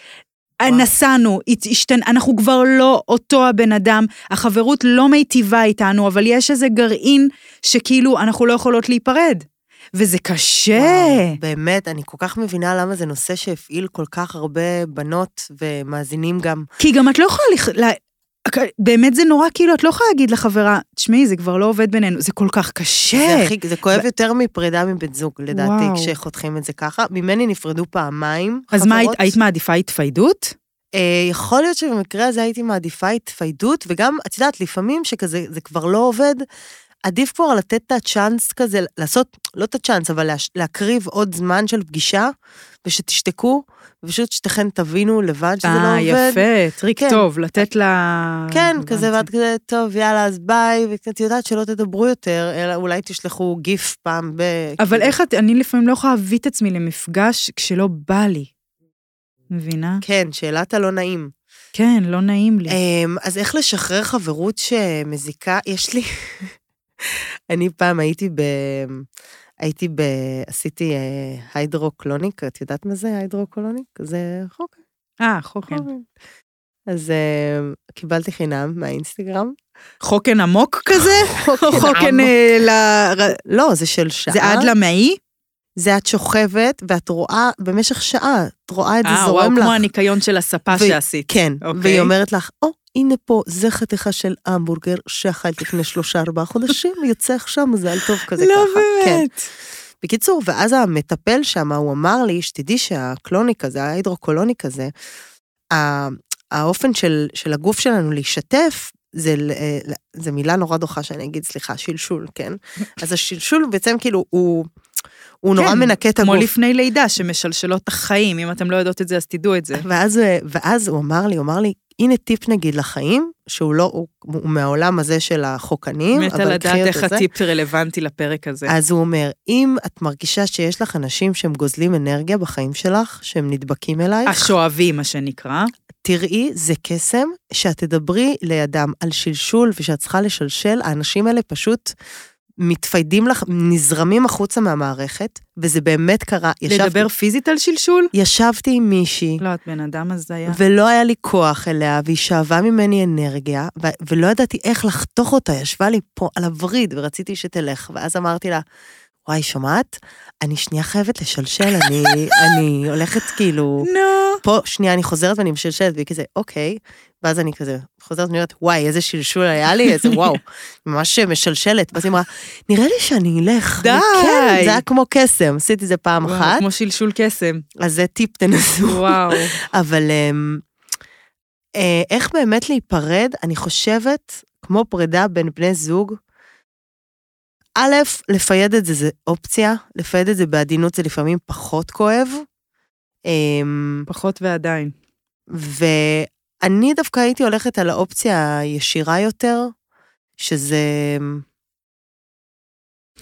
[SPEAKER 4] וואו.
[SPEAKER 3] נסענו, הת- השתנ... אנחנו כבר לא אותו הבן אדם, החברות לא מיטיבה איתנו, אבל יש איזה גרעין שכאילו אנחנו לא יכולות להיפרד. וזה קשה.
[SPEAKER 4] וואו, באמת, אני כל כך מבינה למה זה נושא שהפעיל כל כך הרבה בנות ומאזינים גם.
[SPEAKER 3] כי גם את לא יכולה, לכ... לה... באמת זה נורא, כאילו, את לא יכולה להגיד לחברה, תשמעי, זה כבר לא עובד בינינו, זה כל כך קשה.
[SPEAKER 4] זה, הכי, זה כואב יותר מפרידה מבן זוג, לדעתי,
[SPEAKER 3] כן. וואו.
[SPEAKER 4] כשחותכים את זה ככה. ממני נפרדו פעמיים
[SPEAKER 3] אז
[SPEAKER 4] חברות.
[SPEAKER 3] מה, היית, היית מעדיפה התפיידות?
[SPEAKER 4] אה, יכול להיות שבמקרה הזה הייתי מעדיפה התפיידות, וגם, את יודעת, לפעמים שכזה, זה כבר לא עובד, עדיף כבר לתת את הצ'אנס כזה, לעשות, לא את הצ'אנס, אבל להש- להקריב עוד זמן של פגישה, ושתשתקו, ופשוט שתיכן תבינו לבד שזה לא
[SPEAKER 3] אה,
[SPEAKER 4] עובד.
[SPEAKER 3] יפה, טריק
[SPEAKER 4] כן.
[SPEAKER 3] טוב, לתת לה...
[SPEAKER 4] כן, כזה,
[SPEAKER 3] הבנתי.
[SPEAKER 4] ואת כזה, טוב, יאללה, אז ביי, ואת יודעת שלא תדברו יותר, אלא אולי תשלחו גיף פעם ב...
[SPEAKER 3] אבל
[SPEAKER 4] כאילו,
[SPEAKER 3] איך את, אני לפעמים לא יכולה להביא את עצמי למפגש כשלא בא לי. מבינה?
[SPEAKER 4] כן, שאלת הלא נעים.
[SPEAKER 3] כן, לא נעים לי.
[SPEAKER 4] אמ, אז איך לשחרר חברות שמזיקה? יש לי... אני פעם הייתי ב... הייתי ב... עשיתי אה, היידרוקלוניק, את יודעת מה זה היידרוקלוניק? זה חוק
[SPEAKER 3] אה, חוקן.
[SPEAKER 4] חומר. אז אמ, קיבלתי חינם מהאינסטגרם. כן,
[SPEAKER 3] חוקן עמוק כזה? חוקן אה, ל... ר-
[SPEAKER 4] לא, זה של שעה.
[SPEAKER 3] זה עד למעי?
[SPEAKER 4] אה, זה את שוכבת, ואת רואה במשך שעה, את רואה את זה
[SPEAKER 3] אה, וואו,
[SPEAKER 4] זורם לך.
[SPEAKER 3] כמו הניקיון של הספה
[SPEAKER 4] ו-
[SPEAKER 3] שעשית.
[SPEAKER 4] כן,
[SPEAKER 3] אוקיי.
[SPEAKER 4] והיא אומרת לך, או, הנה פה, זה חתיכה של המבורגר שאכלת לפני שלושה, ארבעה חודשים, *laughs* יוצא עכשיו מזל טוב כזה
[SPEAKER 3] לא
[SPEAKER 4] ככה. כן.
[SPEAKER 3] באמת.
[SPEAKER 4] בקיצור, ואז המטפל שם, הוא אמר לי, שתדעי שהקלוניק הזה, ההידרוקולוניק הזה, ה- האופן של, של הגוף שלנו להשתף, זה, ל- אה, ל- זה מילה נורא דוחה שאני אגיד, סליחה, שלשול, כן? אז השלשול בעצם כאילו, הוא, הוא נורא
[SPEAKER 3] כן,
[SPEAKER 4] מנקה את
[SPEAKER 3] כמו
[SPEAKER 4] הגוף.
[SPEAKER 3] לפני לידה, שמשלשלות את החיים. אם אתם לא יודעות את זה, אז תדעו את זה.
[SPEAKER 4] ואז, אה, ואז הוא אמר לי, הוא אמר לי, הנה טיפ נגיד לחיים, שהוא לא, הוא, הוא מהעולם הזה של החוקנים,
[SPEAKER 3] מתה
[SPEAKER 4] אבל
[SPEAKER 3] לדעת
[SPEAKER 4] קחי אותו
[SPEAKER 3] איך
[SPEAKER 4] זה.
[SPEAKER 3] הטיפ רלוונטי לפרק הזה.
[SPEAKER 4] אז הוא אומר, אם את מרגישה שיש לך אנשים שהם גוזלים אנרגיה בחיים שלך, שהם נדבקים אלייך,
[SPEAKER 3] השואבי, מה שנקרא.
[SPEAKER 4] תראי, זה קסם שאת תדברי לידם על שלשול ושאת צריכה לשלשל, האנשים האלה פשוט מתפיידים לך, נזרמים החוצה מהמערכת, וזה באמת קרה. ישבתי,
[SPEAKER 3] לדבר פיזית על שלשול?
[SPEAKER 4] ישבתי עם מישהי,
[SPEAKER 3] לא, את בן אדם הזיה.
[SPEAKER 4] ולא היה לי כוח אליה, והיא שאבה ממני אנרגיה, ו- ולא ידעתי איך לחתוך אותה, ישבה לי פה על הווריד, ורציתי שתלך, ואז אמרתי לה, וואי, שומעת? אני שנייה חייבת לשלשל,
[SPEAKER 3] *laughs*
[SPEAKER 4] אני, אני הולכת כאילו...
[SPEAKER 3] נו.
[SPEAKER 4] פה, שנייה, אני חוזרת ואני משלשלת, והיא כזה, אוקיי. ואז אני כזה חוזרת ואני אומרת, וואי, איזה שלשול היה לי, איזה
[SPEAKER 3] *laughs*
[SPEAKER 4] וואו, ממש משלשלת. ואז היא אמרה, נראה לי שאני אלך.
[SPEAKER 3] די.
[SPEAKER 4] כן, זה היה כמו קסם, עשיתי את זה פעם
[SPEAKER 3] וואו,
[SPEAKER 4] אחת,
[SPEAKER 3] כמו שלשול קסם.
[SPEAKER 4] אז זה טיפ, תנסו. *laughs*
[SPEAKER 3] וואו.
[SPEAKER 4] אבל אמ, אה, איך באמת להיפרד? אני חושבת, כמו פרידה בין בני זוג, א', לפייד את זה זה אופציה, לפייד את זה בעדינות זה לפעמים פחות כואב. אמ,
[SPEAKER 3] פחות ועדיין.
[SPEAKER 4] ואני דווקא הייתי הולכת על האופציה הישירה יותר, שזה... אמ,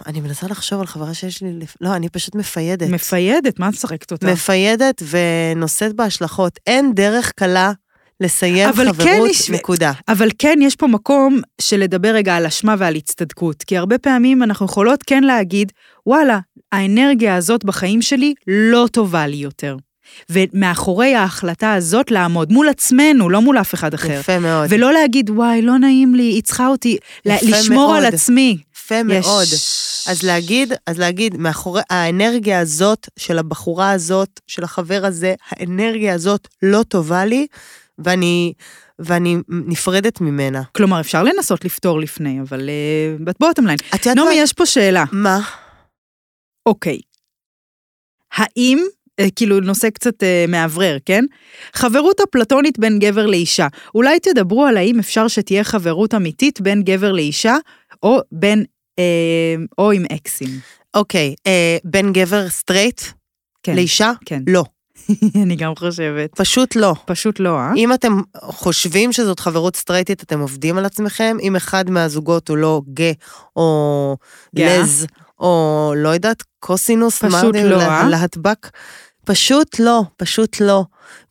[SPEAKER 4] אני מנסה לחשוב על חברה שיש לי... לפ- לא, אני פשוט מפיידת.
[SPEAKER 3] מפיידת, מה את משחקת אותה?
[SPEAKER 4] מפיידת ונושאת בהשלכות. אין דרך קלה לסיים
[SPEAKER 3] אבל
[SPEAKER 4] חברות,
[SPEAKER 3] כן יש-
[SPEAKER 4] נקודה.
[SPEAKER 3] אבל כן, יש פה מקום של לדבר רגע על אשמה ועל הצטדקות, כי הרבה פעמים אנחנו יכולות כן להגיד, וואלה, האנרגיה הזאת בחיים שלי לא טובה לי יותר. ומאחורי ההחלטה הזאת לעמוד מול עצמנו, לא מול אף אחד אחר.
[SPEAKER 4] יפה מאוד.
[SPEAKER 3] ולא להגיד, וואי, לא נעים לי, היא צריכה אותי,
[SPEAKER 4] יפה
[SPEAKER 3] ל- לשמור על
[SPEAKER 4] מאוד.
[SPEAKER 3] עצמי.
[SPEAKER 4] יפה מאוד.
[SPEAKER 3] יש-
[SPEAKER 4] אז להגיד, אז להגיד, מאחורי האנרגיה הזאת של הבחורה הזאת, של החבר הזה, האנרגיה הזאת לא טובה לי, ואני, ואני נפרדת ממנה.
[SPEAKER 3] כלומר, אפשר לנסות לפתור לפני, אבל אה, בבוטם ליין.
[SPEAKER 4] את לא- יודעת
[SPEAKER 3] נעמי,
[SPEAKER 4] מה?
[SPEAKER 3] יש פה שאלה.
[SPEAKER 4] מה?
[SPEAKER 3] אוקיי. האם, אה, כאילו נושא קצת אה, מאוורר, כן? חברות הפלטונית בין גבר לאישה. אולי תדברו על האם אפשר שתהיה חברות אמיתית בין גבר לאישה, או בין, אה, או עם אקסים.
[SPEAKER 4] אוקיי, אה, בין גבר סטרייט
[SPEAKER 3] כן,
[SPEAKER 4] לאישה?
[SPEAKER 3] כן.
[SPEAKER 4] לא.
[SPEAKER 3] *laughs* אני גם חושבת.
[SPEAKER 4] פשוט לא.
[SPEAKER 3] פשוט לא, אה?
[SPEAKER 4] אם אתם חושבים שזאת חברות סטרייטית, אתם עובדים על עצמכם. אם אחד מהזוגות הוא לא גא, או
[SPEAKER 3] גאה.
[SPEAKER 4] לז, או לא יודעת, קוסינוס,
[SPEAKER 3] פשוט
[SPEAKER 4] מה זה,
[SPEAKER 3] לא,
[SPEAKER 4] לה-
[SPEAKER 3] אה?
[SPEAKER 4] להטבק. פשוט לא, פשוט לא.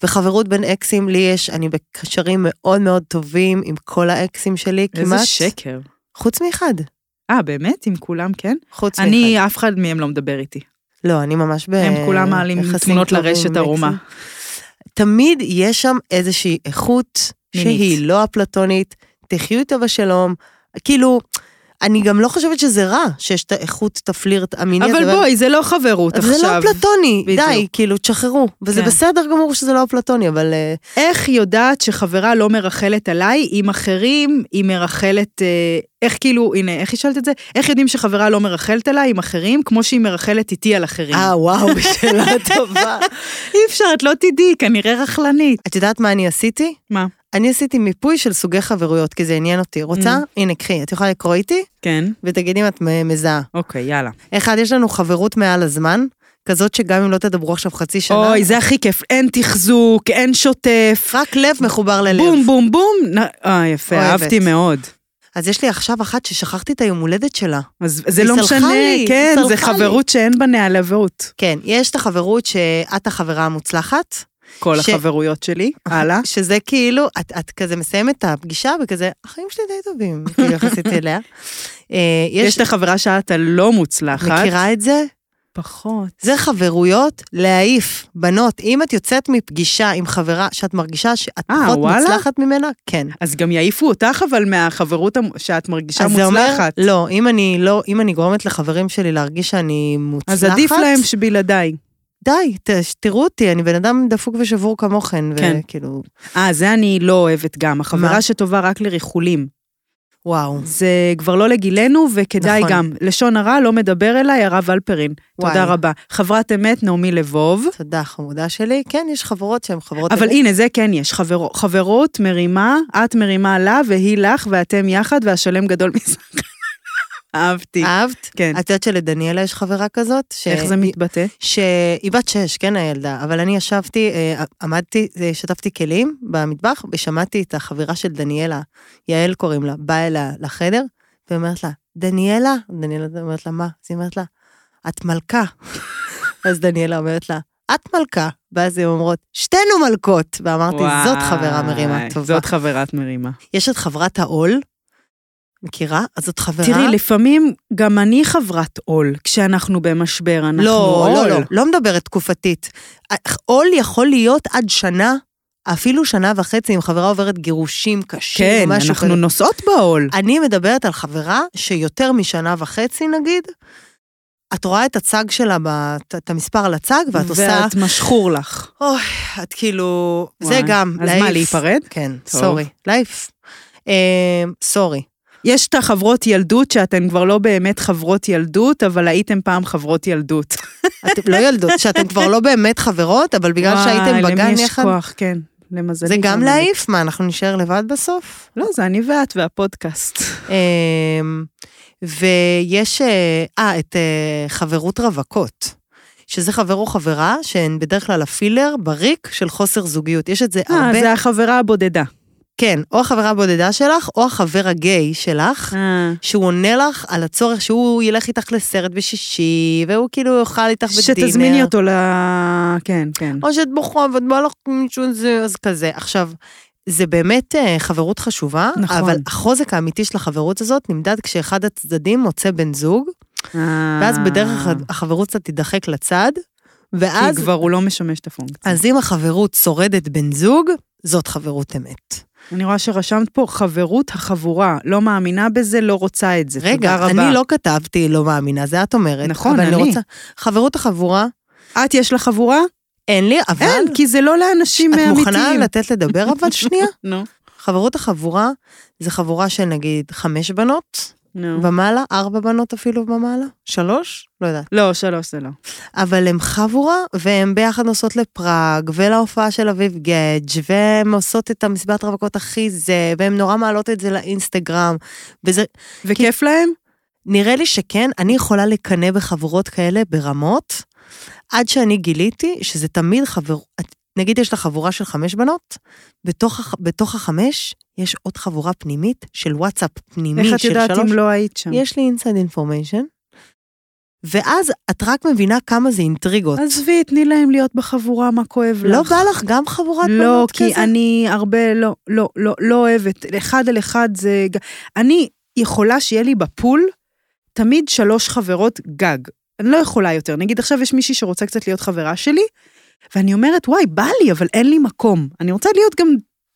[SPEAKER 4] וחברות בין אקסים לי יש, אני בקשרים מאוד מאוד טובים עם כל האקסים שלי, כמעט.
[SPEAKER 3] איזה שקר.
[SPEAKER 4] חוץ מאחד.
[SPEAKER 3] אה, באמת? עם כולם, כן?
[SPEAKER 4] חוץ מאחד.
[SPEAKER 3] אני, אף אחד מהם לא מדבר איתי.
[SPEAKER 4] לא, אני ממש ב...
[SPEAKER 3] הם כולם מעלים
[SPEAKER 4] יחסים
[SPEAKER 3] תמונות
[SPEAKER 4] טובים
[SPEAKER 3] לרשת
[SPEAKER 4] עם
[SPEAKER 3] ערומה.
[SPEAKER 4] מקסים. תמיד יש שם איזושהי איכות
[SPEAKER 3] מינית.
[SPEAKER 4] שהיא לא אפלטונית, תחיו איתה בשלום. כאילו, אני גם לא חושבת שזה רע שיש את האיכות, את הפלירט המיני הזה.
[SPEAKER 3] אבל בואי, זה לא חברות
[SPEAKER 4] אבל זה לא
[SPEAKER 3] עכשיו.
[SPEAKER 4] אפלטוני,
[SPEAKER 3] בדיוק.
[SPEAKER 4] די, כאילו, תשחררו. וזה
[SPEAKER 3] כן.
[SPEAKER 4] בסדר גמור שזה לא אפלטוני, אבל... אה,
[SPEAKER 3] איך יודעת שחברה לא מרחלת עליי עם אחרים, היא מרחלת... אה, איך כאילו, הנה, איך היא שאלת את זה? איך יודעים שחברה לא מרחלת עליי עם אחרים, כמו שהיא מרחלת איתי על אחרים?
[SPEAKER 4] אה,
[SPEAKER 3] *laughs*
[SPEAKER 4] וואו, שאלה טובה.
[SPEAKER 3] אי אפשר, את לא תדעי, כנראה רכלנית.
[SPEAKER 4] את יודעת מה אני עשיתי?
[SPEAKER 3] מה?
[SPEAKER 4] אני עשיתי מיפוי של סוגי חברויות, כי זה עניין אותי. רוצה?
[SPEAKER 3] Mm.
[SPEAKER 4] הנה, קחי, את יכולה לקרוא איתי,
[SPEAKER 3] כן.
[SPEAKER 4] ותגידי אם את מ- מזהה.
[SPEAKER 3] אוקיי, יאללה.
[SPEAKER 4] אחד, יש לנו חברות מעל הזמן, כזאת שגם אם לא תדברו עכשיו חצי שנה,
[SPEAKER 3] אוי, זה הכי כיף. אין תחזוק, אין שוטף.
[SPEAKER 4] רק לב מחובר ללב.
[SPEAKER 3] בום, בום, בום. נ- אה, יפה,
[SPEAKER 4] אוהבת.
[SPEAKER 3] אהבתי מאוד.
[SPEAKER 4] אז יש לי עכשיו אחת ששכחתי את היום הולדת שלה.
[SPEAKER 3] אז זה
[SPEAKER 4] היא
[SPEAKER 3] לא
[SPEAKER 4] סלחה
[SPEAKER 3] משנה,
[SPEAKER 4] לי,
[SPEAKER 3] כן,
[SPEAKER 4] היא
[SPEAKER 3] זה
[SPEAKER 4] סלחה לי.
[SPEAKER 3] חברות שאין בה נעלבות.
[SPEAKER 4] כן, יש את החברות שאת החברה המוצלחת,
[SPEAKER 3] כל
[SPEAKER 4] ש-
[SPEAKER 3] החברויות
[SPEAKER 4] *laughs*
[SPEAKER 3] שלי. הלאה.
[SPEAKER 4] שזה כאילו, את, את כזה מסיימת את הפגישה וכזה, החיים שלי די טובים, *laughs* כאילו יחסית אליה. אה,
[SPEAKER 3] יש
[SPEAKER 4] יש,
[SPEAKER 3] לך חברה שאת הלא מוצלחת.
[SPEAKER 4] מכירה את זה?
[SPEAKER 3] פחות.
[SPEAKER 4] זה חברויות להעיף, בנות. אם את יוצאת מפגישה עם חברה שאת מרגישה שאת
[SPEAKER 3] אה,
[SPEAKER 4] פחות
[SPEAKER 3] וואלה?
[SPEAKER 4] מוצלחת ממנה, כן.
[SPEAKER 3] אז גם יעיפו אותך אבל מהחברות המ- שאת מרגישה
[SPEAKER 4] אז זה אומר,
[SPEAKER 3] מוצלחת.
[SPEAKER 4] לא, אם אני לא, אם אני גורמת לחברים שלי להרגיש שאני מוצלחת,
[SPEAKER 3] אז עדיף להם שבלעדיי.
[SPEAKER 4] די, ת, תראו אותי, אני בן אדם דפוק ושבור כמוכן,
[SPEAKER 3] כן.
[SPEAKER 4] וכאילו,
[SPEAKER 3] אה, זה אני לא אוהבת גם. החברה
[SPEAKER 4] מה?
[SPEAKER 3] שטובה רק לריחולים.
[SPEAKER 4] וואו.
[SPEAKER 3] זה כבר לא לגילנו, וכדאי
[SPEAKER 4] נכון.
[SPEAKER 3] גם. לשון הרע לא מדבר אליי, הרב אלפרין. תודה
[SPEAKER 4] וואי.
[SPEAKER 3] רבה. חברת אמת, נעמי לבוב.
[SPEAKER 4] תודה, חמודה שלי. כן, יש חברות שהן חברות...
[SPEAKER 3] אבל
[SPEAKER 4] אמת.
[SPEAKER 3] הנה, זה כן יש. חברו- חברות מרימה, את מרימה לה, והיא לך, ואתם יחד, והשלם גדול *laughs* מזה. אהבתי.
[SPEAKER 4] אהבת?
[SPEAKER 3] כן.
[SPEAKER 4] את יודעת שלדניאלה יש חברה כזאת? ש...
[SPEAKER 3] איך זה מתבטא?
[SPEAKER 4] שהיא בת שש, כן, הילדה, אבל אני ישבתי, אה, עמדתי, אה, שטפתי כלים במטבח, ושמעתי את החברה של דניאלה, יעל קוראים לה, באה אליה לחדר, ואומרת לה, דניאלה? דניאלה אומרת לה, מה? אז היא אומרת לה, את מלכה. *laughs* אז דניאלה אומרת לה, את מלכה. ואז הן אומרות, שתינו מלכות. ואמרתי, זאת חברה מרימה
[SPEAKER 3] וואי,
[SPEAKER 4] טובה.
[SPEAKER 3] זאת חברת מרימה.
[SPEAKER 4] יש את חברת העול, מכירה? אז זאת חברה...
[SPEAKER 3] תראי, לפעמים גם אני חברת עול, כשאנחנו במשבר, אנחנו
[SPEAKER 4] לא,
[SPEAKER 3] עול. כן,
[SPEAKER 4] לא, לא, לא מדברת תקופתית. עול יכול להיות עד שנה, אפילו שנה וחצי, אם חברה עוברת גירושים קשים,
[SPEAKER 3] כן,
[SPEAKER 4] או משהו
[SPEAKER 3] אנחנו
[SPEAKER 4] כזה.
[SPEAKER 3] נוסעות בעול.
[SPEAKER 4] אני מדברת על חברה שיותר משנה וחצי, נגיד, את רואה את הצג שלה, ב- את- את המספר על הצג, ואת עושה...
[SPEAKER 3] ואת משחור לך.
[SPEAKER 4] אוי, את כאילו... זה
[SPEAKER 3] וואי.
[SPEAKER 4] גם,
[SPEAKER 3] אז מה, להיפרד?
[SPEAKER 4] כן, אמ,
[SPEAKER 3] טוב.
[SPEAKER 4] סורי, לייף. סורי.
[SPEAKER 3] יש את החברות ילדות, שאתן כבר לא באמת חברות ילדות, אבל הייתם פעם חברות ילדות. *laughs*
[SPEAKER 4] אתם לא ילדות, שאתן כבר לא באמת חברות, אבל בגלל שהייתם
[SPEAKER 3] וואי,
[SPEAKER 4] בגן
[SPEAKER 3] למי יש
[SPEAKER 4] יחד...
[SPEAKER 3] כוח, כן. למזלי.
[SPEAKER 4] זה גם
[SPEAKER 3] אני.
[SPEAKER 4] להעיף? מה, אנחנו נשאר לבד בסוף?
[SPEAKER 3] לא, זה אני ואת והפודקאסט.
[SPEAKER 4] אמ, ויש, אה, אה, את אה, חברות רווקות, שזה חבר או חברה שהן בדרך כלל הפילר בריק של חוסר זוגיות. יש את זה
[SPEAKER 3] אה,
[SPEAKER 4] *laughs* הרבה,
[SPEAKER 3] זה החברה הבודדה.
[SPEAKER 4] כן, או החברה הבודדה שלך, או החבר הגיי שלך.
[SPEAKER 3] אה.
[SPEAKER 4] שהוא עונה לך על הצורך שהוא ילך איתך לסרט בשישי, והוא כאילו יאכל איתך בדינר.
[SPEAKER 3] שתזמיני אותו ל... כן, כן.
[SPEAKER 4] או שאת בוכה ואת באה לך עם מישהו זה, אז כזה. עכשיו, זה באמת אה, חברות חשובה,
[SPEAKER 3] נכון.
[SPEAKER 4] אבל החוזק האמיתי של החברות הזאת נמדד כשאחד הצדדים מוצא בן זוג,
[SPEAKER 3] אה.
[SPEAKER 4] ואז בדרך כלל החברות קצת תידחק לצד, ואז,
[SPEAKER 3] כי כבר הוא לא משמש את הפונקציה.
[SPEAKER 4] אז אם החברות שורדת בן זוג, זאת חברות אמת.
[SPEAKER 3] אני רואה שרשמת פה חברות החבורה, לא מאמינה בזה, לא רוצה את זה. תודה
[SPEAKER 4] רגע,
[SPEAKER 3] רבה.
[SPEAKER 4] אני לא כתבתי לא מאמינה, זה את אומרת.
[SPEAKER 3] נכון,
[SPEAKER 4] אבל
[SPEAKER 3] אני.
[SPEAKER 5] לא-
[SPEAKER 4] רוצה... חברות החבורה,
[SPEAKER 3] את יש לך חבורה?
[SPEAKER 5] אין לי, אבל...
[SPEAKER 3] אין, כי זה לא לאנשים
[SPEAKER 5] את
[SPEAKER 3] אמיתיים.
[SPEAKER 5] מוכנה לתת לדבר
[SPEAKER 3] *laughs*
[SPEAKER 5] אבל שנייה?
[SPEAKER 3] נו,
[SPEAKER 5] חברות החבורה זה חבורה של נגיד חמש בנות
[SPEAKER 3] נו.
[SPEAKER 5] ומעלה, ארבע בנות אפילו ומעלה, שלוש? לא יודעת.
[SPEAKER 3] לא, שלוש זה לא.
[SPEAKER 5] אבל הם חבורה, והן ביחד נוסעות לפראג, ולהופעה של אביב גדג', והן עושות את המסיבת רווקות הכי זה, והן נורא מעלות את זה לאינסטגרם. וזה,
[SPEAKER 3] וכיף להם?
[SPEAKER 5] נראה לי שכן, אני יכולה לקנא בחברות כאלה ברמות, עד שאני גיליתי שזה תמיד חבר... את- נגיד יש לה חבורה של חמש בנות, בתוך, הח- בתוך החמש יש עוד חבורה פנימית של וואטסאפ פנימי של
[SPEAKER 3] איך
[SPEAKER 5] שלוש.
[SPEAKER 3] את יודעת אם לא היית שם?
[SPEAKER 5] יש לי אינסייד אינפורמיישן. ואז את רק מבינה כמה זה אינטריגות.
[SPEAKER 3] עזבי, תני להם להיות בחבורה, מה כואב לך.
[SPEAKER 5] לא בא לך גם חבורת
[SPEAKER 3] לא,
[SPEAKER 5] בנות כזה?
[SPEAKER 3] כי אני הרבה, לא, לא, לא, לא אוהבת. אחד על אחד זה... ג- אני יכולה שיהיה לי בפול תמיד שלוש חברות גג. אני לא יכולה יותר. נגיד עכשיו יש מישהי שרוצה קצת להיות חברה שלי, ואני אומרת, וואי, בא לי, אבל אין לי מקום. אני רוצה להיות גם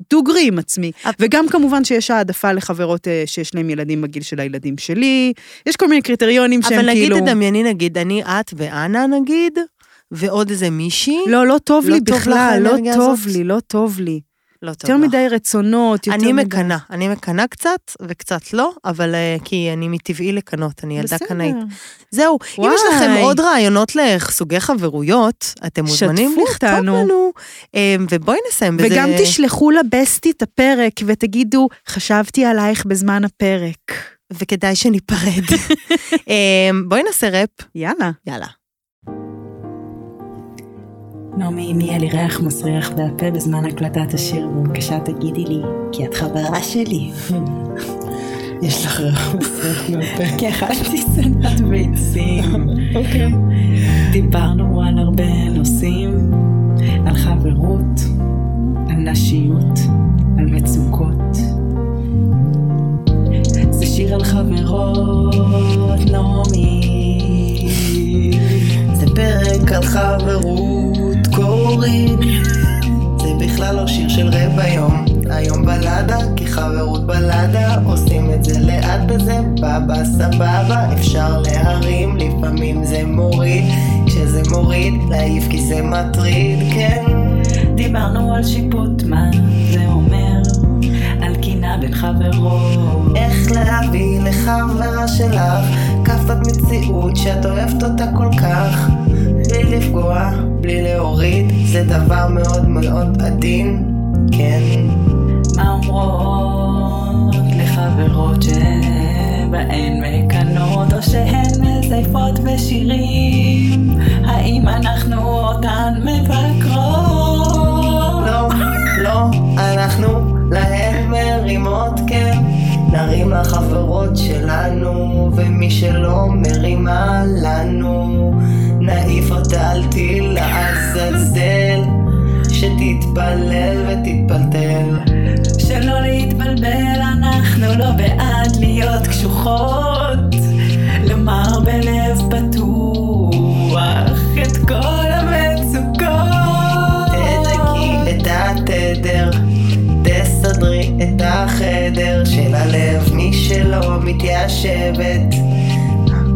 [SPEAKER 3] דוגרי עם עצמי.
[SPEAKER 5] אבל-
[SPEAKER 3] וגם כמובן שיש העדפה לחברות אה, שיש להן ילדים בגיל של הילדים שלי. יש כל מיני קריטריונים שהם
[SPEAKER 5] אבל נגיד
[SPEAKER 3] כאילו...
[SPEAKER 5] תדמייני, נגיד, אני, את ואנה נגיד, ועוד איזה מישהי.
[SPEAKER 3] לא, לא טוב
[SPEAKER 5] לא
[SPEAKER 3] לי
[SPEAKER 5] טוב לך
[SPEAKER 3] בכלל, לא
[SPEAKER 5] האנרגיה
[SPEAKER 3] טוב
[SPEAKER 5] הזאת?
[SPEAKER 3] לי, לא טוב לי.
[SPEAKER 5] לא
[SPEAKER 3] יותר מדי רצונות, יותר
[SPEAKER 5] אני
[SPEAKER 3] מדי...
[SPEAKER 5] מקנאה, אני מקנאה קצת וקצת לא, אבל אה, כי אני מטבעי לקנות, אני ילדה
[SPEAKER 3] בסדר.
[SPEAKER 5] קנאית. זהו, אם
[SPEAKER 3] וואי.
[SPEAKER 5] יש לכם עוד רעיונות לסוגי חברויות, אתם מוזמנים
[SPEAKER 3] שתפו
[SPEAKER 5] לכתוב
[SPEAKER 3] אותנו.
[SPEAKER 5] לנו, אה, ובואי נסיים בזה.
[SPEAKER 3] וגם תשלחו לבסטי את הפרק ותגידו, חשבתי עלייך בזמן הפרק.
[SPEAKER 5] וכדאי שניפרד.
[SPEAKER 3] *laughs*
[SPEAKER 5] אה, בואי נעשה ראפ,
[SPEAKER 3] יאללה.
[SPEAKER 5] יאללה.
[SPEAKER 6] נעמי, אם יהיה לי ריח מסריח והפה בזמן הקלטת השיר, בבקשה תגידי לי, כי את חברה שלי. יש לך ריח מסריח *laughs* מהפה. כי אכלתי סנדלת ביצים. אוקיי. דיברנו על הרבה נושאים, על חברות, על נשיות, על מצוקות. זה שיר על חברות, נעמי. זה פרק על חברות, קורין.
[SPEAKER 4] זה בכלל לא שיר של רבע יום. היום בלדה, כי חברות בלדה, עושים את זה לאט וזה בבא סבבה, אפשר להרים, לפעמים זה מוריד, כשזה מוריד, להעיף כי זה מטריד, כן.
[SPEAKER 6] דיברנו על שיפוט, מה זה אומר? על קינה בין חברות.
[SPEAKER 4] איך להביא לחברה שלך כאפת מציאות שאת אוהבת אותה כל כך בלי לפגוע, בלי להוריד, זה דבר מאוד מאוד עדין, כן.
[SPEAKER 6] מה אומרות לחברות שבהן מקנות או שהן מזייפות בשירים? האם אנחנו אותן מבקרות?
[SPEAKER 4] לא, לא, אנחנו להן מרימות, כן. נרים לחברות שלנו, ומי שלא מרימה לנו, נעיף אותה על טיל לעזאזל, שתתפלל ותתפלטל.
[SPEAKER 6] שלא להתבלבל, אנחנו לא בעד להיות קשוחות. לומר בלב פתוח את כל המצוקות.
[SPEAKER 4] תנקי את התדר, תסדרי את החדר של הלב, מי שלא מתיישבת.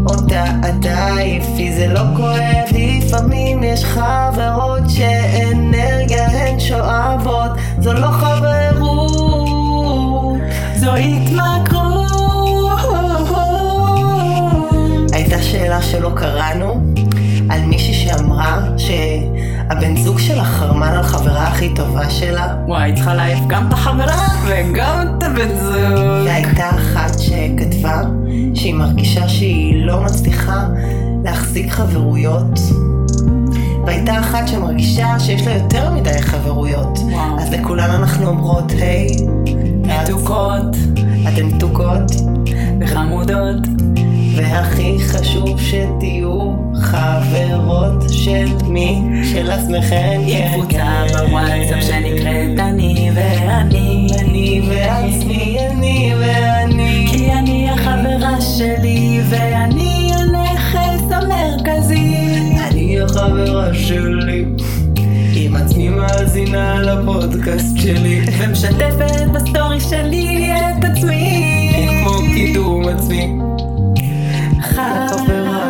[SPEAKER 4] אותה את תעיפי, זה לא כואב, לפעמים יש חברות שאנרגיה הן שואבות, זו לא חברות.
[SPEAKER 6] זו התמכרות.
[SPEAKER 4] הייתה שאלה שלא קראנו, על מישהי שאמרה שהבן זוג שלה חרמן על חברה הכי טובה שלה,
[SPEAKER 6] וואי, צריכה להעיף גם את החברה וגם את הבן זוג.
[SPEAKER 4] והייתה אחת שכתבה שהיא מרגישה שהיא לא מצליחה להחזיק חברויות. והייתה אחת שמרגישה שיש לה יותר מדי חברויות.
[SPEAKER 6] וואו.
[SPEAKER 4] אז לכולן אנחנו אומרות, היי,
[SPEAKER 6] מתוקות
[SPEAKER 4] אתן מתוקות,
[SPEAKER 6] וחמודות.
[SPEAKER 4] והכי חשוב שתהיו חברות של מי? של עצמכם.
[SPEAKER 6] היא
[SPEAKER 4] כן,
[SPEAKER 6] קבוצה
[SPEAKER 4] כן.
[SPEAKER 6] בוואטסאפ שנקראת אני ואני.
[SPEAKER 4] אני ועצמי, אני ואני.
[SPEAKER 6] כי אני החברה שלי ואני הנכס המרכזי.
[SPEAKER 4] אני החברה שלי, עם עצמי מאזינה לפודקאסט שלי,
[SPEAKER 6] ומשתפת בסטורי שלי את עצמי.
[SPEAKER 4] כמו קידום עצמי.
[SPEAKER 6] חברה
[SPEAKER 4] חברה